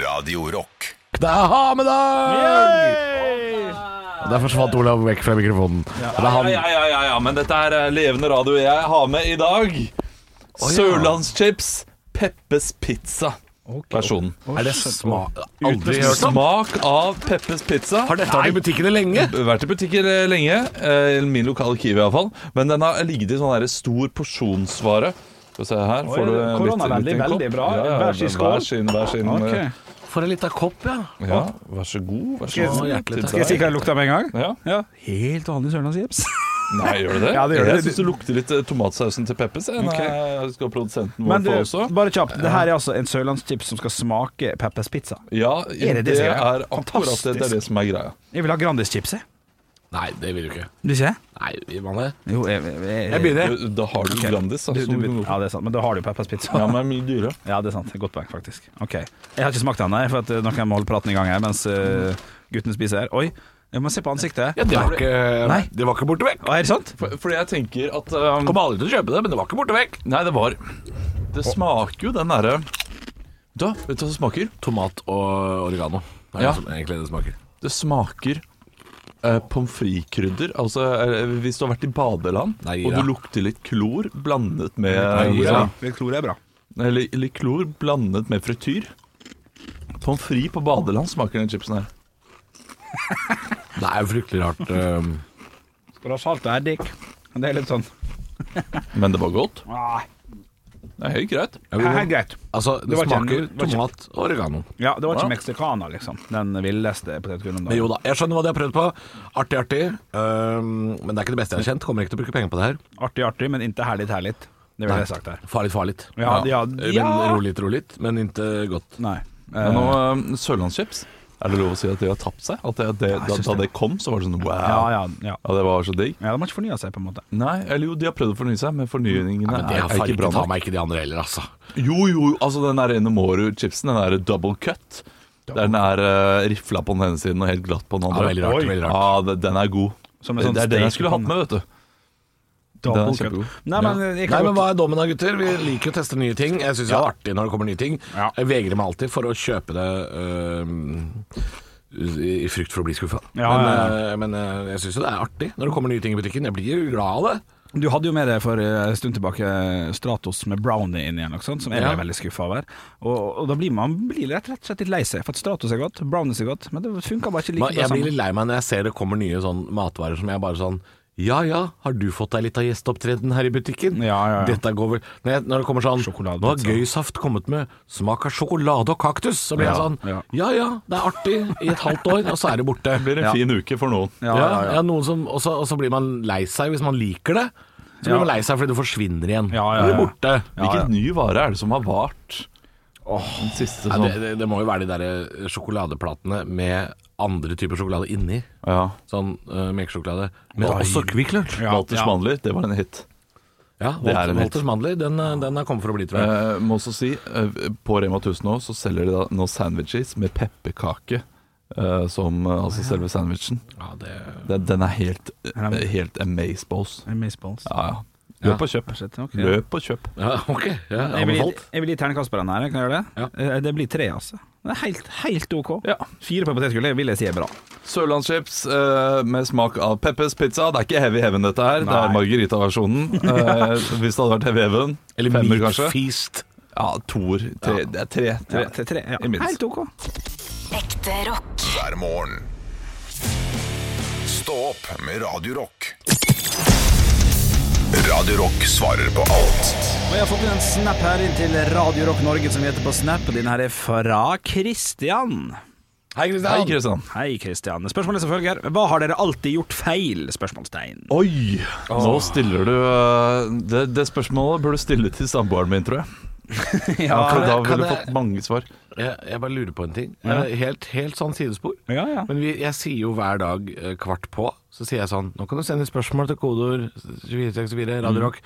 S1: Radio Rock.
S6: Det er hamedag! Der forsvant Olav vekk fra mikrofonen. Det er
S5: Ja,
S6: han.
S5: ja, ja, ja, ja, men dette her er levende radio jeg har med i dag. Sørlandschips, Peppes pizza. Versjonen.
S6: Er det smak Aldri
S5: Uten
S6: hørt om.
S5: smak av Peppes pizza.
S6: Har dette vært i butikkene lenge?
S5: vært i butikker eh, lenge, eh, i min lokale Kiwi iallfall. Men den har ligget i sånn her stor porsjonsvare. Skal vi se her
S4: Oi,
S5: får du en litt-
S4: koronavennlig,
S5: litt en kopp.
S4: veldig bra.
S5: Ja, ja,
S4: Hver sin skål.
S5: Hver sin, hver sin eh,
S6: For en liten kopp, ja.
S5: Ja, vær så god. Vær så
S6: Å,
S5: god.
S6: hjertelig
S5: Til
S6: takk.
S4: Skal jeg si
S5: deg.
S4: hva det lukta med en gang?
S5: Ja.
S4: Ja. Helt vanlig sørlandschips.
S5: Nei, gjør det det?
S4: Ja, det gjør det.
S5: Jeg syns det lukter litt eh, tomatsausen til Peppes. Jeg,
S4: Ok.
S5: jeg skal produsenten vår
S4: Men du,
S5: få også.
S4: bare kjapt. Det her er altså en sørlandschips som skal smake Peppers pizza.
S5: Ja,
S4: Er
S5: det,
S4: det det som er greia?
S5: er akkurat det, det er det som er greia.
S4: Jeg vil ha Grandis-chips, jeg.
S6: Nei, det vil du ikke.
S4: Vil ikke jeg?
S6: Nei, vil man det?
S4: Jo, jeg, jeg, jeg,
S6: Jeg begynner.
S5: Du- Da har du
S4: Ok.
S5: Grandis. da,
S4: Du,
S5: som
S4: du,
S5: du kan gå for.
S4: ja, det er sant. Men da har du Peppers pizza.
S5: ja, men det er mye dyrere.
S4: Ja, det er sant. Godt poeng, faktisk. Ok. Jeg har ikke smakt den, nei, for at eh, nå kan jeg må holde praten i gang her mens eh, guttene spiser her. Oi, jeg må se på ansiktet.
S6: Ja, det var ikke,
S4: Nei.
S6: det var ikke borte vekk.
S4: Å, er det sant?
S5: For, fordi jeg tenker at um,
S6: Kom aldri til å kjøpe det, men det var ikke borte vekk.
S5: Nei, det var Det smaker jo den derre Da, vet du hva det smaker?
S6: Tomat og oregano. Det er
S5: Ja.
S6: det som egentlig det smaker.
S5: Det smaker eh, pommes frites-krydder. Altså eh, hvis du har vært i badeland,
S6: Nei,
S5: og
S6: ja.
S5: du lukter litt klor blandet med
S6: ja.
S4: Det tror jeg er bra.
S5: Eller litt klor blandet med frityr. Pommes frites på badeland smaker den chipsen her.
S6: Det er jo fryktelig rart. ehm.
S4: Skal du ha salt og eddik? Det er litt sånn
S5: Men det var godt.
S4: ah,
S5: Det er helt greit.
S6: Ja, vi må-
S4: Her, greit.
S6: altså, det,
S4: Det var ikke-
S6: smaker
S4: det var ikke-
S6: tomat og oregano.
S4: Ja, det var
S5: Ja.
S4: ikke mexicana, liksom. Den villeste potetgullen.
S6: Men jo da, jeg skjønner hva de har prøvd på. Artig, artig. Ehm, men det er ikke det beste jeg har kjent. Kommer ikke til å bruke penger på det her.
S4: Artig, artig, men ikke herlig, herlig. Det ville jeg sagt her.
S6: Farlig, farlig. Øh,
S4: Ja, ja, ja.
S6: Men rolig, rolig. Men ikke godt.
S4: Nei.
S5: Men nå, eh, Sørlandschips Er det lov å si at de har tapt seg? At det, det,
S4: jeg
S5: da,
S4: synes
S5: da
S4: det.
S5: det kom, så var det sånn wow.
S4: Eh, ja, ja, ja.
S5: Ja, det var så digg.
S4: ja, de har ikke fornya seg, på en måte.
S5: Nei, eller jo, de har prøvd å fornye seg, men fornyingene
S6: Nei, men det
S5: er,
S6: har
S5: er
S6: farlig
S5: ikke bra
S6: ikke ta
S5: nok.
S6: meg ikke de andre heller, altså.
S5: Jo, jo, altså den der Enemoru-chipsen, den der double cut. Der den er eh, rifla på den ene siden og helt glatt på den
S6: Ja,
S5: andre.
S6: veldig rart,
S4: Oi.
S6: veldig
S5: Ja,
S6: rart.
S5: det, den er god.
S4: Som en
S5: det
S4: sånn
S5: er den jeg
S4: steak
S5: skulle
S4: på
S5: hatt med, vet du.
S4: Double
S5: Den er
S4: cut.
S5: kjempegod.
S4: Nei, men jeg
S6: Nei,
S4: kan
S6: men
S4: godt
S6: Hva er dommen da, gutter? Vi liker å teste nye ting. Jeg syns det
S4: Ja.
S6: er artig når det kommer nye ting.
S4: Ja.
S6: Jeg vegrer meg alltid for å kjøpe det øhm, i i frykt for å bli skuffa.
S4: Ja,
S6: men
S4: ja,
S6: øh, men øh, jeg syns jo det er artig når det kommer nye ting i butikken. Jeg blir jo glad av det.
S4: Du hadde jo med deg for eh, en stund tilbake Stratos med brownie inn igjen, ikke sant, som jeg
S6: Ja.
S4: ble veldig skuffa over. Og, og da blir man blir rett, rett og slett litt lei seg, for at Stratos er godt, brownies er godt, men det funka bare ikke like
S6: Men
S4: bra
S6: jeg blir
S4: sammen.
S6: litt lei meg når jeg ser det kommer nye sånn matvarer som jeg bare sånn Ja ja, har du fått deg litt av gjesteopptreden her i butikken?
S4: Ja, ja, liksom. ja.
S6: Dette går vel Når, jeg, når det kommer sånn
S4: Sjokoladepizza.
S6: Nå har Gøysaft kommet med smak av sjokolade og kaktus. Så blir
S4: Ja,
S6: jeg sånn
S4: ja.
S6: Ja ja, det er artig i et halvt år, og så er det borte.
S5: Det blir en
S4: Ja.
S5: fin uke for noen.
S4: Ja,
S6: Ja, ja,
S4: ja, ja.
S6: noen som Og så og så blir man lei seg hvis man liker det. Så blir
S4: Ja.
S6: man lei seg fordi det forsvinner igjen.
S4: Ja, ja,
S6: Det blir
S4: ja.
S6: borte.
S5: Hvilken ny vare er det som har vart? Den siste
S6: Ja,
S5: sånn
S6: det, det, det må jo være de der eh, sjokoladeplatene med andre typer sjokolade inni.
S5: ja.
S6: Sånn uh, melkesjokolade. Men også Kvikk Lunsj. Ja,
S5: Walters Mandler, det var en hit. det er
S6: Walter,
S5: en hit.
S6: Walters Mandler. Den, eh, den er kommet for å bli, tror jeg.
S5: Eh, må også si, eh, på Rema 1000 nå, så selger de da nå sandwiches med pepperkake. eh, som eh, altså selve sandwichen.
S6: Ja, det,
S5: Den, den er helt,
S4: Den er-
S5: eh, helt amazeballs.
S4: Amazeballs.
S5: Ja, ja. Løp og kjøp.
S4: Shit, ok.
S5: Løp og kjøp.
S6: ja ok. Ja,
S4: Jeg vil, gi-
S6: anbefalt.
S4: jeg vil gi terningkast på den her, kan jeg gjøre det?
S6: Ja.
S4: Eh, Det blir tre, altså. Det er helt, helt ok.
S5: Ja.
S4: Fire på potetgull, det vil jeg si er bra.
S5: Sørlandschips eh, med smak av Peppes pizza. Det er ikke heavy heaven, dette her. Det
S4: Nei.
S5: er margaritaversjonen. Eh, hvis det hadde vært heavy heaven,
S6: Eller
S5: femmer
S6: Meat
S5: kanskje.
S6: Feast.
S5: Ja, toer. Tre. Det er tre. tre.
S4: Ja, til tre, ja.
S5: I minst.
S4: Helt ok.
S2: Ekte rock.
S1: hver morgen. Stå opp med Radio Rock. Radio Rock svarer på alt
S4: Og jeg har fått inn en snap her inn til Radio Rock Norge som vi heter på Snap, og denne her er fra Kristian.
S5: Hei,
S6: Hei, Kristian.
S5: Kristian.
S4: Hei, Kristian. Spørsmålet er som følger. Hva har dere alltid gjort feil? Spørsmålstegn.
S5: Oi! Nå stiller du eh, det, det spørsmålet burde du stille til samboeren min, tror jeg. Ja, for da
S6: kan
S5: ville du
S6: jeg-
S5: fått mange svar.
S6: Jeg, jeg bare lurer på en ting. Eh, Helt, helt sånn sidespor.
S4: Ja, ja.
S6: Men vi, jeg sier jo hver dag eh, kvart på, så sier jeg sånn Nå kan du sende spørsmål til kodeord 2464 Radio Rock.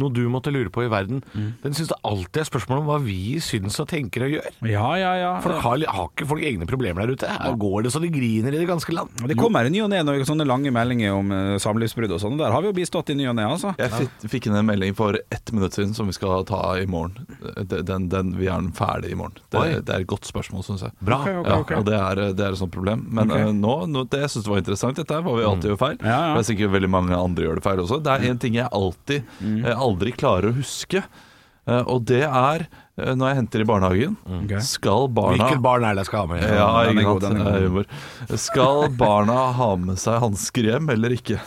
S6: Noe du måtte lure på i verden. Den syns det alltid er spørsmål om hva vi syns og tenker og gjør.
S4: Ja, ja, ja.
S6: For har, har ikke folk egne problemer der ute? Her går det så det griner i det ganske land.
S4: Og Det kommer i ny og ne noen sånne lange meldinger om eh, samlivsbrudd og sånn. og Der har vi jo bistått i ny og ne, altså.
S5: Jeg fikk, fikk inn en melding for ett minutt siden som vi skal ta i morgen. Den, den, den Vi er den ferdig i morgen. Det,
S6: Oi.
S5: det er et godt spørsmål, syns jeg.
S6: Bra.
S4: Ok, ok,
S5: Ja,
S4: ok.
S5: og det er, det er et sånt problem. Men
S4: Ok.
S5: eh, nå, nå, det jeg synes det var interessant, dette her var
S6: Mm.
S5: vi alltid gjør feil.
S4: Ja, ja.
S5: Det er sikkert veldig mange andre gjør det feil også. Det er en ting jeg alltid
S6: Mm.
S5: eh, aldri klarer å huske, eh, og det er eh, når jeg henter i barnehagen.
S6: Mm.
S4: Ok.
S5: Skal barna
S6: Hvilket barn er det jeg skal ha med?
S5: ja,
S4: den er
S5: ikke
S4: god,
S5: sant?
S4: den er god.
S5: Det er humor. Skal barna ha med seg hansker hjem eller ikke?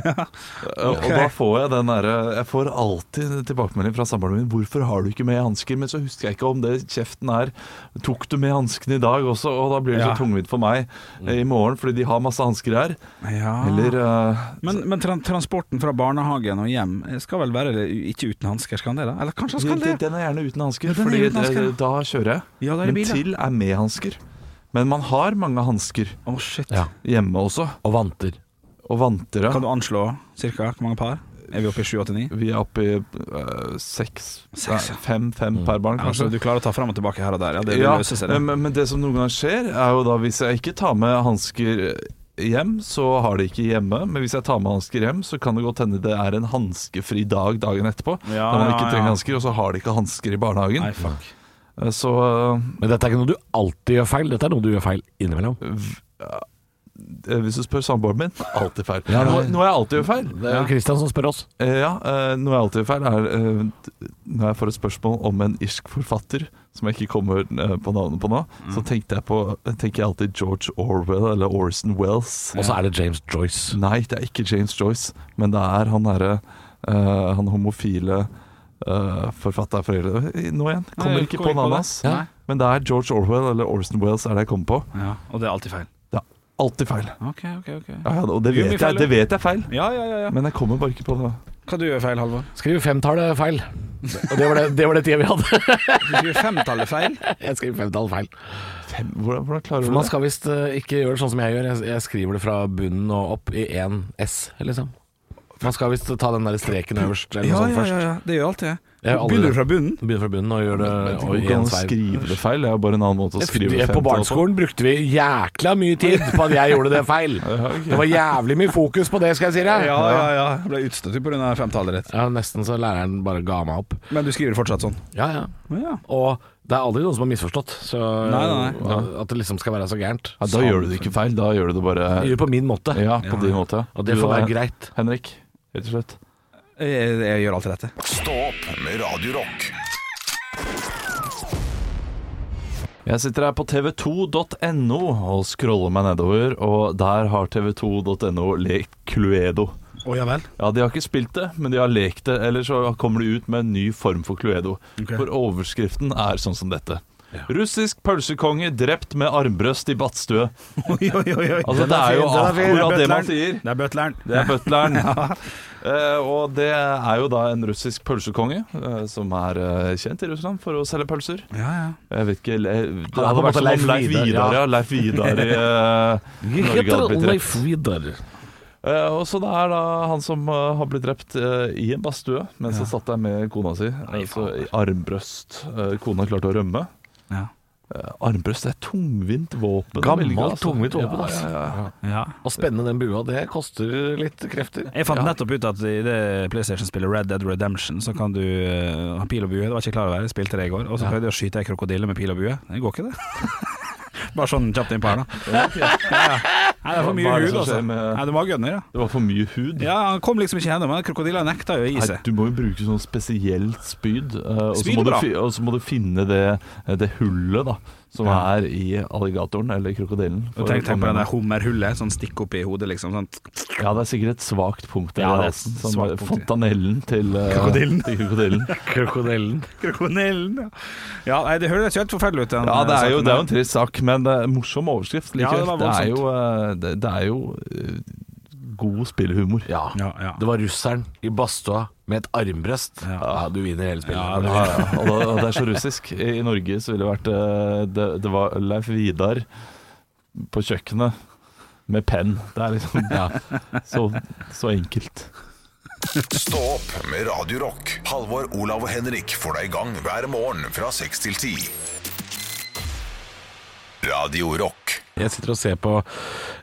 S5: Eh, Og da får jeg den derre Jeg får alltid tilbakemelding fra samboeren min 'Hvorfor har du ikke med hansker?' Men så husker jeg ikke om det kjeften er 'Tok du med hanskene i dag også?' Og da blir det
S4: Ja. Mm.
S5: så tungvint for meg eh, i morgen, fordi de har masse hansker her.
S4: Ja.
S5: Eller eh,
S4: Men, men tran transporten fra barnehagen og hjem eh, skal vel være eh, ikke uten hansker, skal han det? da? Eller kanskje han
S5: den,
S4: skal det?
S5: den er gjerne uten hansker,
S4: Ja, den er
S5: Fordi
S4: uten hansker,
S5: eh,
S4: ja.
S5: da kjører jeg.
S4: Ja, da er det
S5: Men
S4: bil, ja.
S5: til er med hansker. Men man har mange hansker
S4: Å, shit.
S6: Ja.
S5: hjemme også,
S6: Og vanter.
S5: og vanter. ja.
S4: Kan du anslå cirka hvor mange par? Er vi oppe i 7-8-9?
S5: Vi er oppe i øh, seks,
S4: Seks, ja.
S5: nei, fem, fem per barn,
S4: Altså,
S5: kanskje.
S4: du klarer å ta fram og tilbake her og der, ja. Det vil
S5: Ja,
S4: løse seg, det.
S5: men, men det som noen ganger skjer, er jo da hvis jeg ikke tar med hansker hjem, så har de ikke hjemme. Men hvis jeg tar med hansker hjem, så kan det godt hende det er en hanskefri dag dagen etterpå.
S4: Ja,
S5: da man
S4: ja,
S5: ikke
S4: ja.
S5: trenger hansker, og så har de ikke hansker i barnehagen.
S4: Nei, fuck.
S5: Så øh,
S6: Men dette er ikke noe du alltid gjør feil, dette er noe du gjør feil innimellom.
S5: eh, hvis du spør samboeren min, alltid feil.
S6: Ja,
S5: noe,
S6: nei.
S5: noe jeg alltid gjør feil.
S6: Det er jo Kristian som spør oss.
S5: Eh, Ja, eh, noe jeg alltid gjør feil er eh, t- Når jeg får et spørsmål om en irsk forfatter Som jeg ikke kommer eh, på navnet på nå Så tenkte jeg på, tenker jeg alltid George Orwell eller Orson Welles
S6: Og så er det James Joyce.
S5: Nei, det er ikke James Joyce Men det er han derre eh, Han homofile uh, forfatter Eh, Nå igjen, kommer
S4: Nei, kommer
S5: ikke på
S4: ikke på det.
S5: navnet hans
S4: Nei.
S5: Men det er George Orwell eller Orson Welles Er det jeg kommer på
S4: Ja, og det er alltid feil.
S5: Det er alltid feil
S4: Ok, ok, ok.
S5: ja, ja, Og det
S4: Gjør
S5: vet,
S4: mye feil,
S5: jeg, det vet jeg er feil
S4: Ja, ja, ja. ja.
S5: Men jeg kommer bare ikke på det
S4: Hva du gjør feil, Halvor?
S6: Skriv femtallet feil. Og det var det, det, var det tida vi hadde.
S4: Du gjør femtallet feil.
S6: Jeg skriver femtallet feil.
S5: Fem, hvordan, hvordan klarer
S6: For
S5: du
S6: man
S5: det?
S6: skal visst eh, ikke gjøre det sånn som jeg gjør. Jeg, jeg skriver det fra bunnen og opp i én S, liksom. Man skal visst ta den der streken øverst eller noe
S4: Ja,
S6: sånt
S4: ja,
S6: først.
S4: ja, ja. Det gjør alltid jeg.
S6: Jeg har aldri
S4: Begynner
S6: det.
S4: du fra bunnen?
S6: Begynne fra bunnen og gjøre det
S5: Det går
S6: og i
S5: ikke an
S6: en
S5: å
S6: feil.
S5: skrive det feil, det er jo bare en annen måte å skrive
S4: sånn.
S6: På barneskolen brukte vi jækla mye tid på at jeg gjorde det feil. Det var jævlig mye fokus på det, skal jeg si deg.
S4: Ja, ja, ja. Jeg ble utstøtt på grunn av femtallet ditt.
S6: Ja, Nesten så læreren bare ga meg opp.
S4: Men du skriver fortsatt sånn?
S6: Ja, ja.
S4: Ja.
S6: Og det er aldri noen som har misforstått, så
S4: Nei, nei,
S6: at det liksom skal være så gærent.
S5: Ja, da gjør du det ikke feil, da gjør du det bare
S6: Jeg gjør det på min måte,
S5: Ja, på din måte.
S6: og det
S5: Du
S6: får
S5: da,
S6: være greit.
S5: Henrik, rett og slett.
S4: Jeg, jeg gjør alltid dette.
S1: Stå opp med Radio Rock
S5: Jeg sitter her på tv2.no og scroller meg nedover, og der har tv2.no lekt Cluedo.
S4: Å ja vel.
S5: Ja, De har ikke spilt det, men de har lekt det. Eller så kommer de ut med en ny form for Cluedo.
S4: Ok.
S5: For overskriften er sånn som dette. Russisk pølsekonge drept med armbrøst i badstue.
S4: Oi, oi, oi, oi.
S5: Altså, det er jo
S4: Den fin, den fin.
S5: akkurat det man
S4: Butleren.
S5: sier.
S4: Det er butleren.
S5: Det er butleren. Eh, og det er jo da en russisk pølsekonge, eh, som er eh, kjent i Russland for å selge pølser.
S4: Ja, ja.
S5: Jeg vet ikke, le, Det
S6: på en
S5: hadde
S6: måte
S5: vært som om
S6: Leif
S5: Leif
S6: Vidar, ja.
S5: Vidar, ja. Leif Vidar i eh,
S6: Jeg
S5: Norge hadde
S6: heter
S5: blitt drept.
S6: Leif Vidar.
S5: Eh, og så det er da han som eh, har blitt drept eh, i en badstue mens han satt der med kona si. Altså i armbrøst. Eh, kona klarte å rømme.
S4: Ja.
S5: Eh, armbrøst det er tungvint våpen. å
S6: Gammelt
S5: velge, altså.
S6: tungvint våpen,
S5: Ja,
S6: ass.
S5: ja, ja.
S4: ja.
S6: Å spenne den bua, det koster litt krefter.
S4: Jeg fant nettopp ut at i det PlayStation-spillet Red Dead Redemption, så kan du eh, ha pil og bue. Det var ikke klar over, jeg spilte det i går. Og så prøvde jeg å skyte ei krokodille med pil og bue. Det går ikke, det. Bare sånn kjapt inn på her, da. Ja, ja. Nei, det er for mye
S5: Hva er det
S4: hud,
S5: som
S4: altså.
S5: skjer med-
S4: Nei, du må ha gunner, ja.
S5: Det var for mye hud.
S4: Ja, han kom liksom ikke gjennom. men Krokodilla nekta jo å gi
S5: Nei,
S4: seg.
S5: du må jo bruke sånn spesielt spyd, eh, og, så
S4: Spyd
S5: må
S4: er
S5: du,
S4: bra.
S5: fi- og så må du finne det, eh, det hullet da som
S4: Ja.
S5: er i alligatoren eller krokodillen.
S4: Og
S5: For-
S4: Tenk, tenk på den der hummerhullet, sånn stikk opp i hodet, liksom. Sånn.
S5: Ja, det er sikkert et svakt punkt.
S4: Ja,
S5: Ja,
S4: det er
S5: som
S4: et svakt punkt, ja.
S5: fontanellen til eh,
S4: Krokodillen.
S5: Til krokodillen.
S6: Krokodellen.
S4: Krokodillen, ja. ja nei, det høres jo helt forferdelig ut. den, eh,
S5: Ja, det er, jo,
S4: saken
S5: det er jo
S4: der.
S5: en trist sak, men det er en morsom overskrift
S4: Ja, det
S5: likevel.
S4: var
S5: det, er jo, eh, det, det er jo eh, god spillhumor.
S6: Ja.
S4: Ja, ja.
S6: Det var russeren i badstua med et armbrøst. Ja. du vinner hele spillet.
S4: Ja,
S5: Ja, ja. Og, det, og det er så russisk. I, i Norge så ville det vært eh, det, det var Leif Vidar på kjøkkenet med penn. Det er liksom så, så enkelt.
S1: Stå opp med Radio Rock. Halvor, Olav og Henrik får deg i gang hver morgen fra 6 til 10. Radio Rock.
S6: Jeg sitter og ser på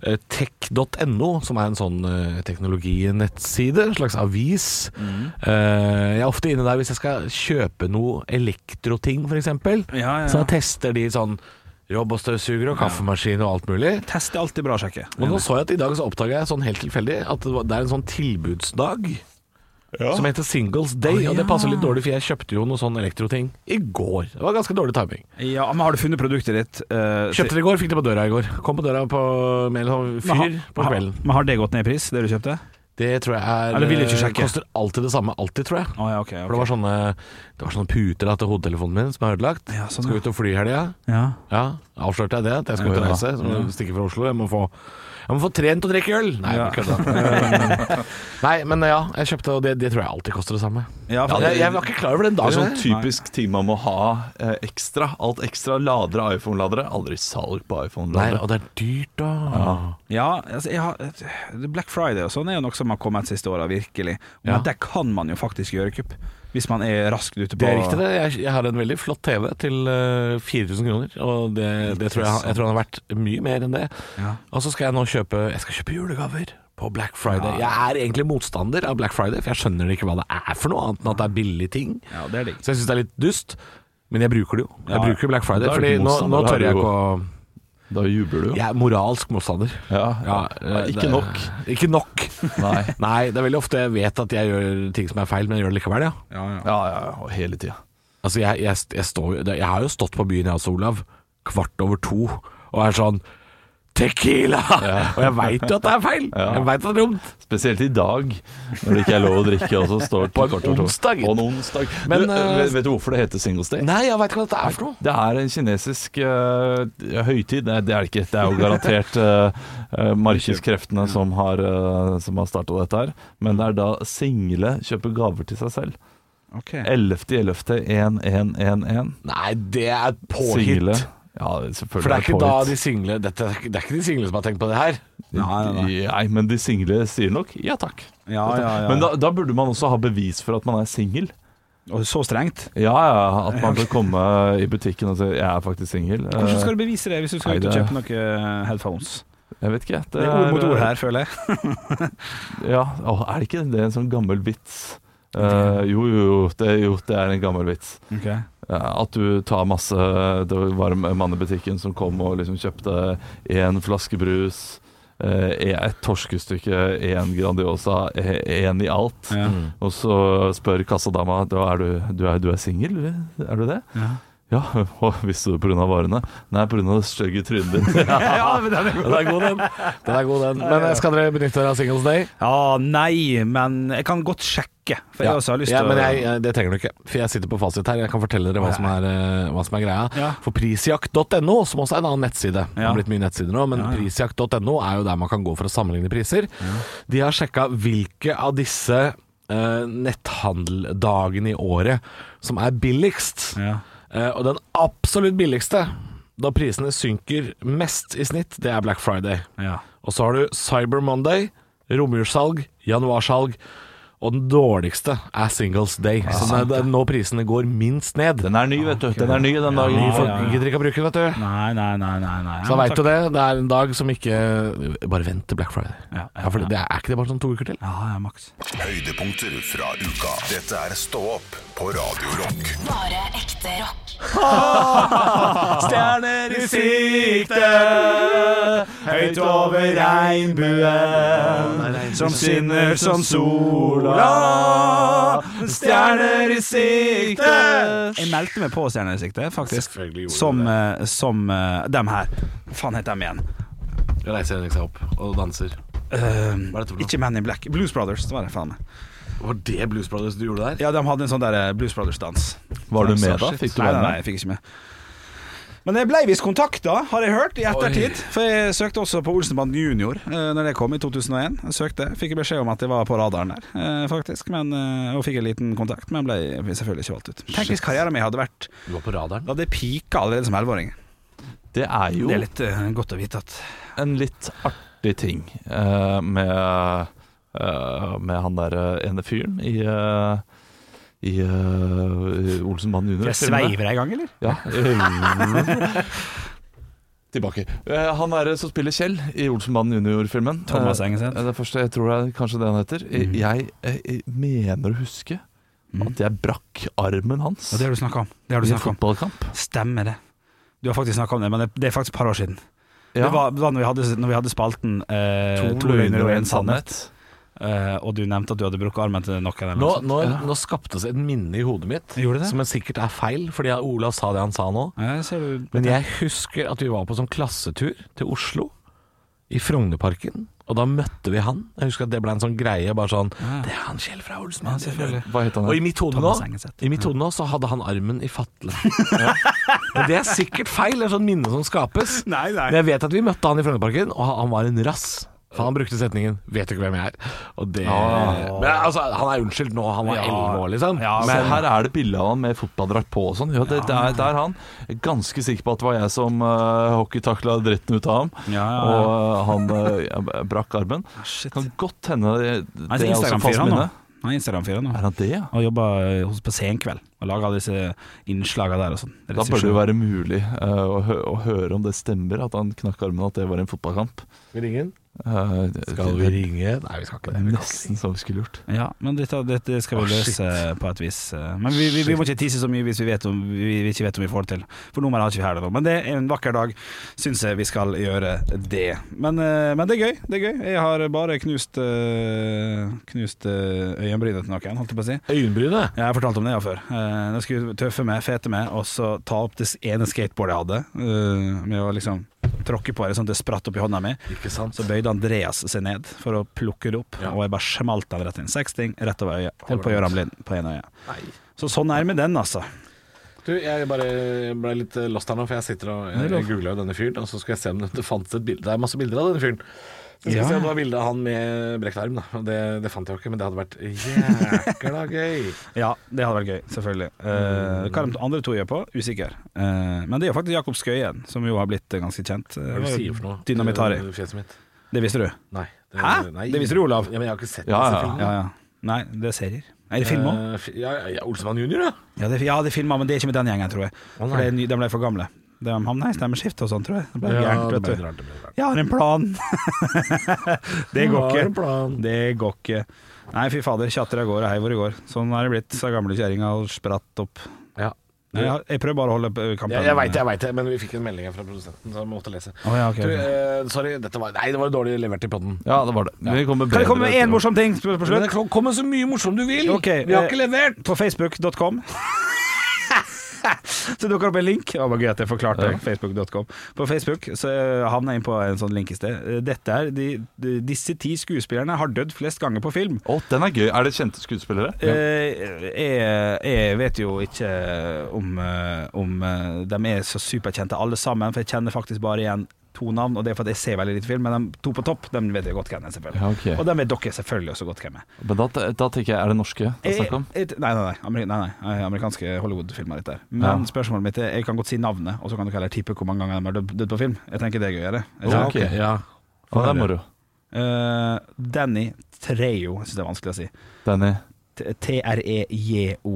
S6: eh, tech.no, som er en sånn eh, teknologinettside, en slags avis.
S4: Mm.
S6: Eh, jeg er ofte inne der hvis jeg skal kjøpe noe elektroting, f.eks.
S4: Ja, ja,
S6: Så
S4: ja.
S6: jeg tester de sånn robotstøvsuger og kaffemaskin og alt mulig.
S4: Test er alltid bra å sjekke.
S6: Og nå så jeg at i dag så oppdaga jeg sånn helt tilfeldig at det var- det er en sånn tilbudsdag. Som heter Singles Day, og det passer litt dårlig, for jeg kjøpte jo noe sånn elektroting i går. Det var ganske dårlig timing.
S4: Ja, men har du funnet produktet ditt? eh,
S6: Kjøpte det i går, fikk det på døra i går. Kom på døra på, med en sånn
S4: Men har-
S6: fyr på kvelden.
S4: har- Men har det gått ned i pris, det du kjøpte?
S6: Det tror jeg er eh,
S4: Eller vil du ikke sjekke?
S6: Koster alltid det samme, alltid, tror jeg.
S4: Å ja, ok. ok.
S6: For det var sånne, det var sånne puter da, til hodetelefonen min som er ødelagt.
S4: Ja, sånn,
S6: Skal
S4: ja.
S6: ut og fly i helga.
S4: ja.
S6: Ja, avslørte jeg det? At jeg skal ut og
S4: Ja.
S6: reise? Så må jeg stikke fra Oslo. Jeg må få jeg må få trent og drikke øl! Nei,
S4: Ja.
S6: jeg kødda. Nei, men ja, jeg kjøpte, og det, det tror jeg alltid koster det samme.
S4: Ja, for
S6: Ja, jeg, jeg var ikke klar over den
S5: Det er
S6: dagen.
S5: sånn
S6: der.
S5: typisk ting man må ha eh, ekstra. Alt ekstra. Ladere iPhone-ladere. Aldri salg på
S6: Nei,
S5: iPhone-ladere.
S6: og det er dyrt, da.
S4: Ja, altså, jeg har, Black Friday og sånn er jo noe som har kommet siste åra, virkelig. Men
S6: Ja.
S4: der kan man jo faktisk gjøre kupp, hvis man er raskt ute på
S6: Det er riktig, det. Jeg, jeg har en veldig flott TV til eh, 4000 kroner, og det, det tror jeg, jeg tror den har vært mye mer enn det.
S4: Ja.
S6: Og så skal jeg nå kjøpe Jeg skal kjøpe julegaver på Black Friday. Jeg er egentlig motstander av Black Friday, for jeg skjønner ikke hva det er for noe, annet enn at det er billige ting.
S4: Ja, det er digg.
S6: Så jeg syns det er litt dust, men jeg bruker det jo. Jeg
S4: Ja.
S6: bruker Black Friday,
S5: Da er du
S6: Fordi
S5: ikke
S6: nå,
S5: motstander,
S6: nå
S5: da er
S6: tør jeg
S5: du jo-
S6: ikke å
S5: Da jubler du jo.
S6: Jeg er moralsk motstander.
S5: Ja,
S6: Ja,
S5: Nei,
S6: det-
S5: ikke nok.
S6: Ikke nok.
S5: Nei.
S6: Nei, det er veldig ofte jeg vet at jeg gjør ting som er feil, men jeg gjør det likevel, ja.
S4: Ja, ja.
S5: Ja, ja, ja. Hele tida.
S6: Altså, jeg, jeg, jeg, står, jo- jeg har jo stått på byen, jeg også, Olav, kvart over to, og er sånn Tequila! Og jeg veit jo at det er feil! Jeg veit at det er dumt.
S5: Spesielt i dag, når det ikke er lov å drikke. Og så står det
S6: På en
S5: kvart over to.
S6: onsdag, gitt.
S5: På en onsdag.
S6: Men,
S5: du,
S6: eh,
S5: vet, vet du hvorfor det heter Singles Day?
S6: Nei, jeg veit ikke hva dette er for noe.
S5: Det er en kinesisk eh, høytid. Nei, det er det ikke. Det er jo garantert eh, eh, markedskreftene som har, uh, har starta dette her. Men det er da single kjøper gaver til seg selv.
S4: Ok.
S6: Eh,
S5: 11.11.1111.
S6: Nei, det er påhitt.
S5: Single. Ja, selvfølgelig
S6: For det er ikke
S5: påhitt.
S6: da de single dette, er ikke- Det er ikke de single som har tenkt på det her.
S4: Nei, nei, nei.
S5: Nei, men de single sier nok ja takk.
S4: Ja, ja, ja.
S5: Men da, da burde man også ha bevis for at man er singel.
S4: Og så strengt.
S5: Ja, ja, at man bør komme i butikken og si 'jeg er faktisk singel'.
S6: Eh,
S4: Hvordan skal du bevise det hvis du skal
S5: Nei,
S4: ut og
S5: det-
S4: kjøpe noen headphones?
S5: Eh, Jeg vet ikke.
S4: Det er ord mot ord her, føler jeg.
S5: Ja, å, er det ikke det er en sånn gammel vits? Eh, jo, jo, jo det, jo, det er en gammel vits. Eh, at du tar masse Det var en mann i butikken som kom og liksom kjøpte én flaske brus, eh, ett torskestykke, én Grandiosa, én i alt.
S4: Ja.
S5: Og så spør kassadama da er du, du er, du er singel, eller? er du det? Ja, og visste du det pga. varene? Nei, pga. det stygge trynet ditt.
S4: ja, men den er
S6: Den er god, den. den, er god, den. Men eh, skal dere benytte dere av Singles Day?
S4: Ja, nei, men jeg kan godt sjekke. For jeg også har lyst
S6: ja,
S4: til
S6: men jeg, jeg, det trenger du ikke. For jeg sitter på fasit her. Jeg kan fortelle dere hva, som er, eh, hva som er greia.
S4: Ja.
S6: For prisjakt.no, som også er en annen nettside Det
S4: Ja.
S6: har blitt mye nettsider nå, men prisjakt.no er jo der man kan gå for å sammenligne priser. De har sjekka hvilke av disse eh, netthandeldagene i året som er billigst.
S4: Ja.
S6: Eh, og den absolutt billigste, da prisene synker mest i snitt, det er Black Friday.
S4: Ja.
S6: Og så har du Cyber Monday, romjulssalg, januarsalg. Og den dårligste er Singles Day, som er den- nå prisene går minst ned.
S5: Den er ny, vet du. Den er ny den dagen.
S6: Ny folk
S4: ja, ja.
S6: gidder ikke å bruke den, vet du.
S4: Nei, nei, nei. nei, nei.
S6: Så veit du det. Det er en dag som ikke Bare vent til Black Friday.
S4: Ja, ja,
S6: Ja, for det det er er ikke det bare sånn to uker til?
S4: Ja, ja, Max.
S1: Høydepunkter fra uka. Dette er Stå opp på Radio Rock.
S2: Bare ekte rock.
S6: Ah.
S4: Stjerner i sikte, høyt over regnbuen, som skinner som sola. Stjerner i sikte. Jeg meldte meg på Stjerner i sikte, faktisk. Som, eh, som eh, dem her. Hva faen heter dem igjen?
S6: Jeg reiser Henrik seg opp og danser.
S4: Eh,
S6: Hva er dette for noe?
S4: ikke Man in Black. Blues Brothers. Det var det, faen meg.
S6: Var det Blues Brothers du gjorde der?
S4: Ja, de hadde en sånn der eh, Blues Brothers-dans.
S5: Var du
S4: Så
S5: med da?
S4: shit.
S5: Fikk du
S4: nei,
S5: være
S4: nei, nei,
S5: med?
S4: jeg fikk ikke med. Men jeg ble visst kontakta, har jeg hørt, i ettertid. For jeg søkte også på Olsenbanden Junior eh, Når det kom i 2001. Jeg søkte, Fikk jeg beskjed om at jeg var på radaren der, eh, faktisk. Men, eh, og fikk en liten kontakt, men ble selvfølgelig ikke valgt ut. Tenk hvis karrieren min hadde vært
S6: Du var på radaren.
S4: Da hadde jeg pika allerede som 11-åring.
S5: Det er jo
S4: Det er litt eh, godt å vite at
S5: en litt artig ting eh, med, eh, med han der eh, ene fyren i, eh, i eh, Olsenbanden Junior. filmene.
S4: jeg i gang, eller?
S5: Ja. Tilbake. Eh, Han er som spiller Kjell i Olsenbanden junior-filmen.
S4: Thomas
S5: Eh,
S4: Engeseth.
S5: Det første, jeg tror det er kanskje det han heter. Eh, Jeg, eh, jeg mener å huske at jeg brakk armen hans
S4: Og Mm. det har du snakka om. Det har
S5: i
S4: du
S5: en
S4: snakket om.
S5: fotballkamp.
S4: Stemmer det. Du har faktisk snakka om det, men det, det er faktisk et par år siden.
S5: Ja.
S4: Det var da når vi hadde, når vi hadde spalten eh,
S5: to, løgner og en sannhet.
S4: eh, og du nevnte at du hadde brukket armen til noen. eller
S6: Nå,
S4: noe sånt.
S6: nå, nå skapte det seg et minne i hodet mitt
S4: Gjorde det?
S6: som sikkert er feil, fordi Olav sa det han sa nå.
S4: Ja, jeg Eh, ser du-
S6: Men jeg husker at vi var på sånn klassetur til Oslo, i Frognerparken. Og da møtte vi han. Jeg husker at det ble en sånn greie, bare sånn Det er han Kjell fra Olsmann.
S4: selvfølgelig.
S5: Hva het han?
S6: Og i mitt hode nå
S4: Thomas Engeseth.
S6: I mitt hode nå så hadde han armen i fatle. Men det er sikkert feil, det er sånn minne som skapes.
S4: Nei, nei.
S6: Men jeg vet at vi møtte han i Frognerparken, og han- han var en rass. For han brukte setningen 'vet du ikke hvem jeg er'. Og det Men altså, han er unnskyldt nå, han var
S4: Ja.
S6: elleve år, liksom.
S4: Ja,
S5: Men
S6: men
S5: Altså, her er det bilde av han med fotballdrakt på og sånn. Ja, det, det, er, det er han. Jeg er ganske sikker på at det var jeg som uh, hockeytakla dritten ut av ham.
S4: Ja, ja, ja.
S5: Og eh, han eh, jeg brakk armen.
S4: shit.
S5: Kan godt hende det,
S4: Han
S5: det
S4: er
S5: er også fast
S4: Instagram-fyren nå. Ah,
S5: minne.
S4: Han er Instagram-fyren nå.
S5: Er han det, ja?
S4: Og jobber eh, hos på Senkveld og lager alle disse innslagene der og sånn.
S5: Da bør det jo være mulig eh, å, hø å høre om det stemmer at han knakk armen, at det var en fotballkamp.
S6: Vi ringer han.
S5: Eh, det-
S6: Skal vi
S5: det-
S6: ringe? Nei, vi skal ikke det. Vi kan ikke
S5: Nesten som vi skulle gjort.
S4: Ja, men dette, dette skal vi
S6: Å, shit.
S4: løse på et vis. Men vi, vi, vi må ikke tise så mye hvis vi, vet om, vi, vi ikke vet om vi får det til. For nummeret har ikke vi her nå. Men det er en vakker dag, syns jeg vi skal gjøre det. Men, eh, men det er gøy. det er gøy Jeg har bare knust eh, Knust eh, øyenbrynet til noen, holdt jeg på å si.
S6: Øyenbrynet?
S4: Jeg har fortalt om det ja, før. Eh, Jeg skulle tøffe meg, fete meg, og så ta opp det ene skateboardet jeg hadde. eh, Med å liksom tråkke på det sånn at det spratt opp i hånda mi.
S6: Ikke sant.
S4: Så bøyde Andreas seg ned for å plukke det opp, og jeg bare smalt han rett inn. Seksting rett over øyet. Holdt på å gjøre han blind på ene øyet.
S6: Nei.
S4: Så sånn er det med den, altså.
S6: Du, jeg bare ble litt eh, lost her nå, for jeg sitter og jeg, jeg googla jo denne fyren, og så skal jeg se om det fantes et bilde. Det er masse bilder av denne fyren. Så skal
S4: Ja.
S6: jeg se om det var bilde av han med brekt arm, da. Og Det, det fant jeg jo ikke, men det hadde vært jækla gøy.
S4: Ja, det hadde vært gøy, selvfølgelig. Eh, hva de andre to gjør på, usikker. Eh, men det er jo faktisk Jakob Skøyen, som jo har blitt eh, ganske kjent.
S6: Hva er det du sier for noe?
S4: Dynamitari.
S6: Det- det Fjeset mitt.
S4: Det visste du?
S6: Nei. Det,
S4: Hæ? Det visste du, Olav.
S6: Ja, men jeg har ikke sett
S5: Ja,
S6: disse
S5: ja.
S6: filmene.
S4: Ja, ja. Nei, det er serier. Er det film òg?
S6: Eh, fi- Ja, ja, ja, Olsemann junior, ja.
S4: Ja, det, ja, det er filmer, men det er ikke med den gjengen, tror jeg.
S6: Å,
S4: For
S6: nei.
S4: det er ny- de ble for gamle. De havna i stemmeskifte og sånn, tror jeg. Det ble gærent,
S6: det
S4: vet
S6: ble
S4: du.
S6: rart, det ble rart.
S4: Jeg har en plan! det går
S6: Har en
S4: ikke.
S6: plan.
S4: Det går ikke. Nei, fy fader. Tjatter av gårde, hei hvor det går. Sånn er det blitt, sa gamle kjerringa og spratt opp.
S6: Ja.
S4: Nei, jeg, jeg prøver bare å holde eh, kampen
S6: Jeg, jeg veit det, jeg vet det, men vi fikk en melding her fra produsenten, så jeg måtte lese.
S4: Å, ja, ok,
S6: du,
S4: ok.
S6: eh, sorry, dette var, nei, det var dårlig levert i podden.
S5: Ja, det var det. Vi kommer
S4: Kan jeg komme med
S5: bedre
S4: én morsom ting på på
S6: Men
S4: slutt?
S6: eh, det kom med så mye morsomt du vil!
S4: Ok,
S6: vi har
S4: eh,
S6: ikke levert!
S4: På facebook.com så dukker det opp en link. Det var gøy at jeg forklarte facebook.com. På Facebook så eh, havna jeg inn på en sånn link i sted. Eh, Dette er de, de, Disse ti skuespillerne har dødd flest ganger på film.
S5: Å, den er gøy. Er det kjente skuespillere?
S4: Eh, jeg, jeg vet jo ikke om, eh, om eh, de er så superkjente alle sammen, for jeg kjenner faktisk bare igjen to navn, og det er fordi jeg ser veldig lite film, men de to på topp, de vet jeg godt hvem er, selvfølgelig.
S5: Ja, ok.
S4: Og de vet dere selvfølgelig også godt hvem er.
S5: Men da, da tenker jeg, er det norske det er snakk om?
S4: Eh, et- Nei, nei, nei, Ameri- nei, nei, eh, amerikanske Hollywood-filmer dette her. Men
S5: Ja.
S4: spørsmålet mitt er, jeg kan godt si navnet, og så kan dere heller tippe hvor mange ganger de har dødd dødd på film. Jeg tenker det er gøyere. Jeg
S6: Ja,
S4: tenker-
S6: ok, ja.
S5: Ja, det er moro.
S4: Eh, Danny Trejo, jeg synes det er vanskelig å si.
S5: Danny.
S4: T- T-R-E-J-O.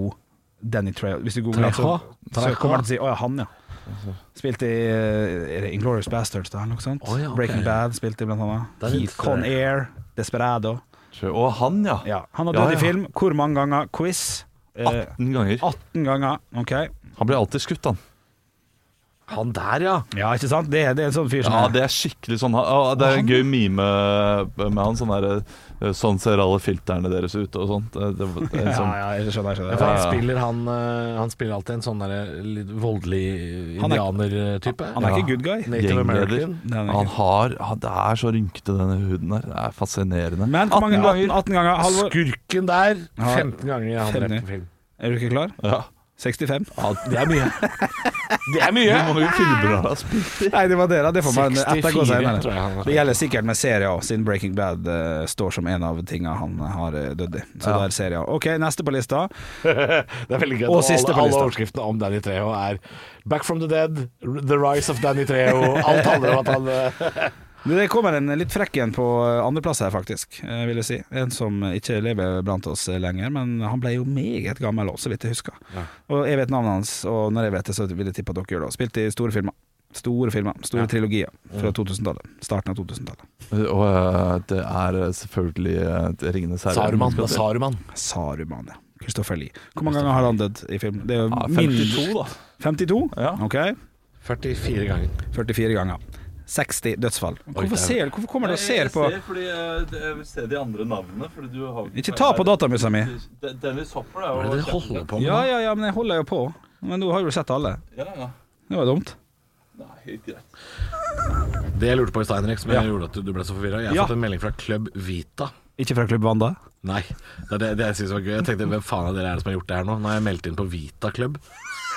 S4: Danny Trejo. Hvis du googler, så, så
S6: Trejo.
S4: kommer du til å si å ja, han, ja. Spilt i uh, Inglorious Bastards, da, eller noe sånt.
S6: Å, ja, ok.
S4: Breaking Bad spilte i blant annet.
S6: Danny
S4: Heat Con
S6: Trejo.
S4: Air, Desperado.
S5: Å, han, ja.
S4: Ja, han har
S5: Ja,
S4: dødd
S5: ja.
S4: i film. Hvor mange ganger? Quiz. Eh,
S5: 18 ganger.
S4: 18 ganger. Ok.
S5: Han blir alltid skutt, han.
S6: Han der, ja.
S4: Ja, ikke sant? Det, det er en sånn fyr som
S5: Ja,
S4: er-
S5: det er skikkelig sånn å, Det er en gøy mime med han. Sånn, der, eh, sånn ser alle filterne deres ut og sånt. Det, det, det er
S4: ja,
S5: sånn,
S4: ja, jeg skjønner. Jeg skjønner.
S6: Ja, for
S4: Ja,
S6: han,
S5: ja.
S6: spiller, han, eh, han spiller alltid en sånn der litt voldelig
S4: Han er-
S6: indianer-type.
S4: Han er ikke good guy.
S6: Native
S5: Gjengleder.
S6: American.
S4: Nei, han er
S5: Han
S4: ikke.
S5: har han, Det er så rynkete, denne huden der. Det er fascinerende.
S4: Men hvor mange
S5: 18
S4: ganger? 18 ganger. Halvor,
S6: Skurken der,
S4: Ja.
S6: 15 ganger han drept på film.
S4: er du ikke klar?
S5: Ja.
S4: 65.
S6: Det er mye. Det er mye!
S5: Hvor mange filmer har han spilt i?
S4: Nei, det var dere. Det får man ettergå
S6: 64,
S4: senere.
S6: tror jeg han
S4: Det gjelder sikkert med serier også, siden Breaking Bad eh, står som en av tinga han har eh, dødd i. Så det er serier. OK, neste på lista.
S6: Det er veldig gøy.
S4: Og
S6: Og
S4: siste
S6: alle,
S4: på
S6: alle
S4: lista.
S6: overskriftene om Danny Treho er 'Back from the Dead', 'The Rise of Danny Treho'. Alt handler om at han eh,
S4: Det kommer en litt frekk en på eh, andreplass her, faktisk. eh, Vil jeg si. En som ikke lever blant oss eh, lenger, men han ble jo meget gammel òg, så vidt jeg husker. Og jeg vet navnet hans, og når jeg vet det, så vil jeg tippe at dere gjør det òg. Spilte i store filmer. Store filmer, store trilogier fra 2000-tallet. Starten av 2000-tallet.
S5: Og eh, det er eh, selvfølgelig eh, det Ringenes herre.
S6: Saruman. Det er Saruman.
S4: Saruman, ja. Christopher Lee. Hvor mange ganger har han dødd i film? Det er jo
S5: Ja,
S4: mindre-
S5: 52, da.
S4: 52?
S5: Ja.
S4: Ok.
S6: 44 ganger.
S4: 44 ganger. 60 dødsfall. Hvorfor, ser, hvorfor kommer du og ser på
S5: fordi eh, jeg vil se de andre navnene.
S4: Ikke ta på datamusa mi!
S5: Dennis Hopper er
S6: Hva er det dere holder på med?
S4: Ja, ja, ja, men jeg holder jo på. Men nå har du sett alle. Det var dumt.
S6: Det jeg lurte på i Steinrex, men jeg gjorde at du- du ble så forvirra. Jeg har
S4: Ja.
S6: fått en melding fra Club Vita.
S4: Ikke fra Klubb Wanda?
S6: Nei, det er det, det jeg synes var gøy. Jeg tenkte hvem faen er dere er det som har gjort det her nå? Nå har jeg meldt inn på Vita Club.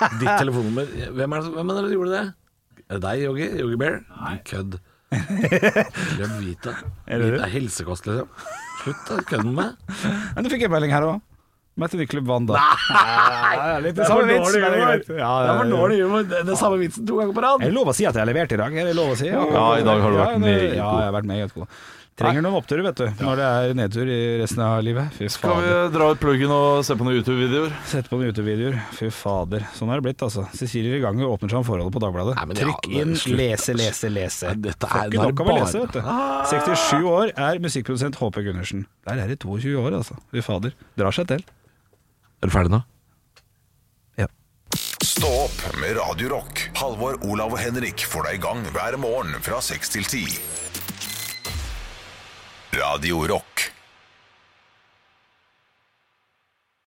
S6: Ditt telefonnummer. Hvem er det som hvem er det som gjorde det? Er det deg, Yogi? Yogi Bear? Nei. Kødd. Club Vita.
S4: det du?
S6: Det er helsekost, liksom. Slutt da, kødd med meg.
S4: Men nå fikk jeg melding her òg. Møtte vi Klubb Wanda? Nei! Litt det samme vits. men det er greit. Ja,
S6: Det
S4: ja,
S6: var
S4: ja.
S6: dårlig humor. Det er samme vitsen to ganger på
S4: Er
S6: rad.
S4: det lov å si at jeg har levert i dag? Er det lov å si? Ja,
S5: i dag har du
S4: ja,
S5: vært
S4: det-
S5: meget
S4: Ja,
S5: god.
S4: jeg har vært meget god. Trenger noen oppturer, vet du. Når det er nedtur i resten av livet. Fy
S5: Kan vi
S4: fader.
S5: dra ut pluggen og se på noen YouTube-videoer?
S4: Sett på noen YouTube-videoer. Fy fader. Sånn er det blitt, altså. Cecilie Rigange åpner seg om forholdet på Dagbladet.
S6: Nei, men ja,
S4: Trykk
S6: men
S4: inn,
S6: slutt.
S4: lese, lese, lese.
S6: Nei, dette
S4: Får
S6: er-
S4: ikke
S6: nå er
S4: nok av å
S6: bare- Ah!
S4: lese, vet du. 67 år er musikkprodusent HP Gundersen. Der er det 22 år, altså. Fy fader. Drar seg til.
S6: Er du ferdig nå?
S1: Stå opp med Radio Rock. Halvor, Olav og Henrik får deg i gang hver morgen fra 6 til 10. Radio Rock.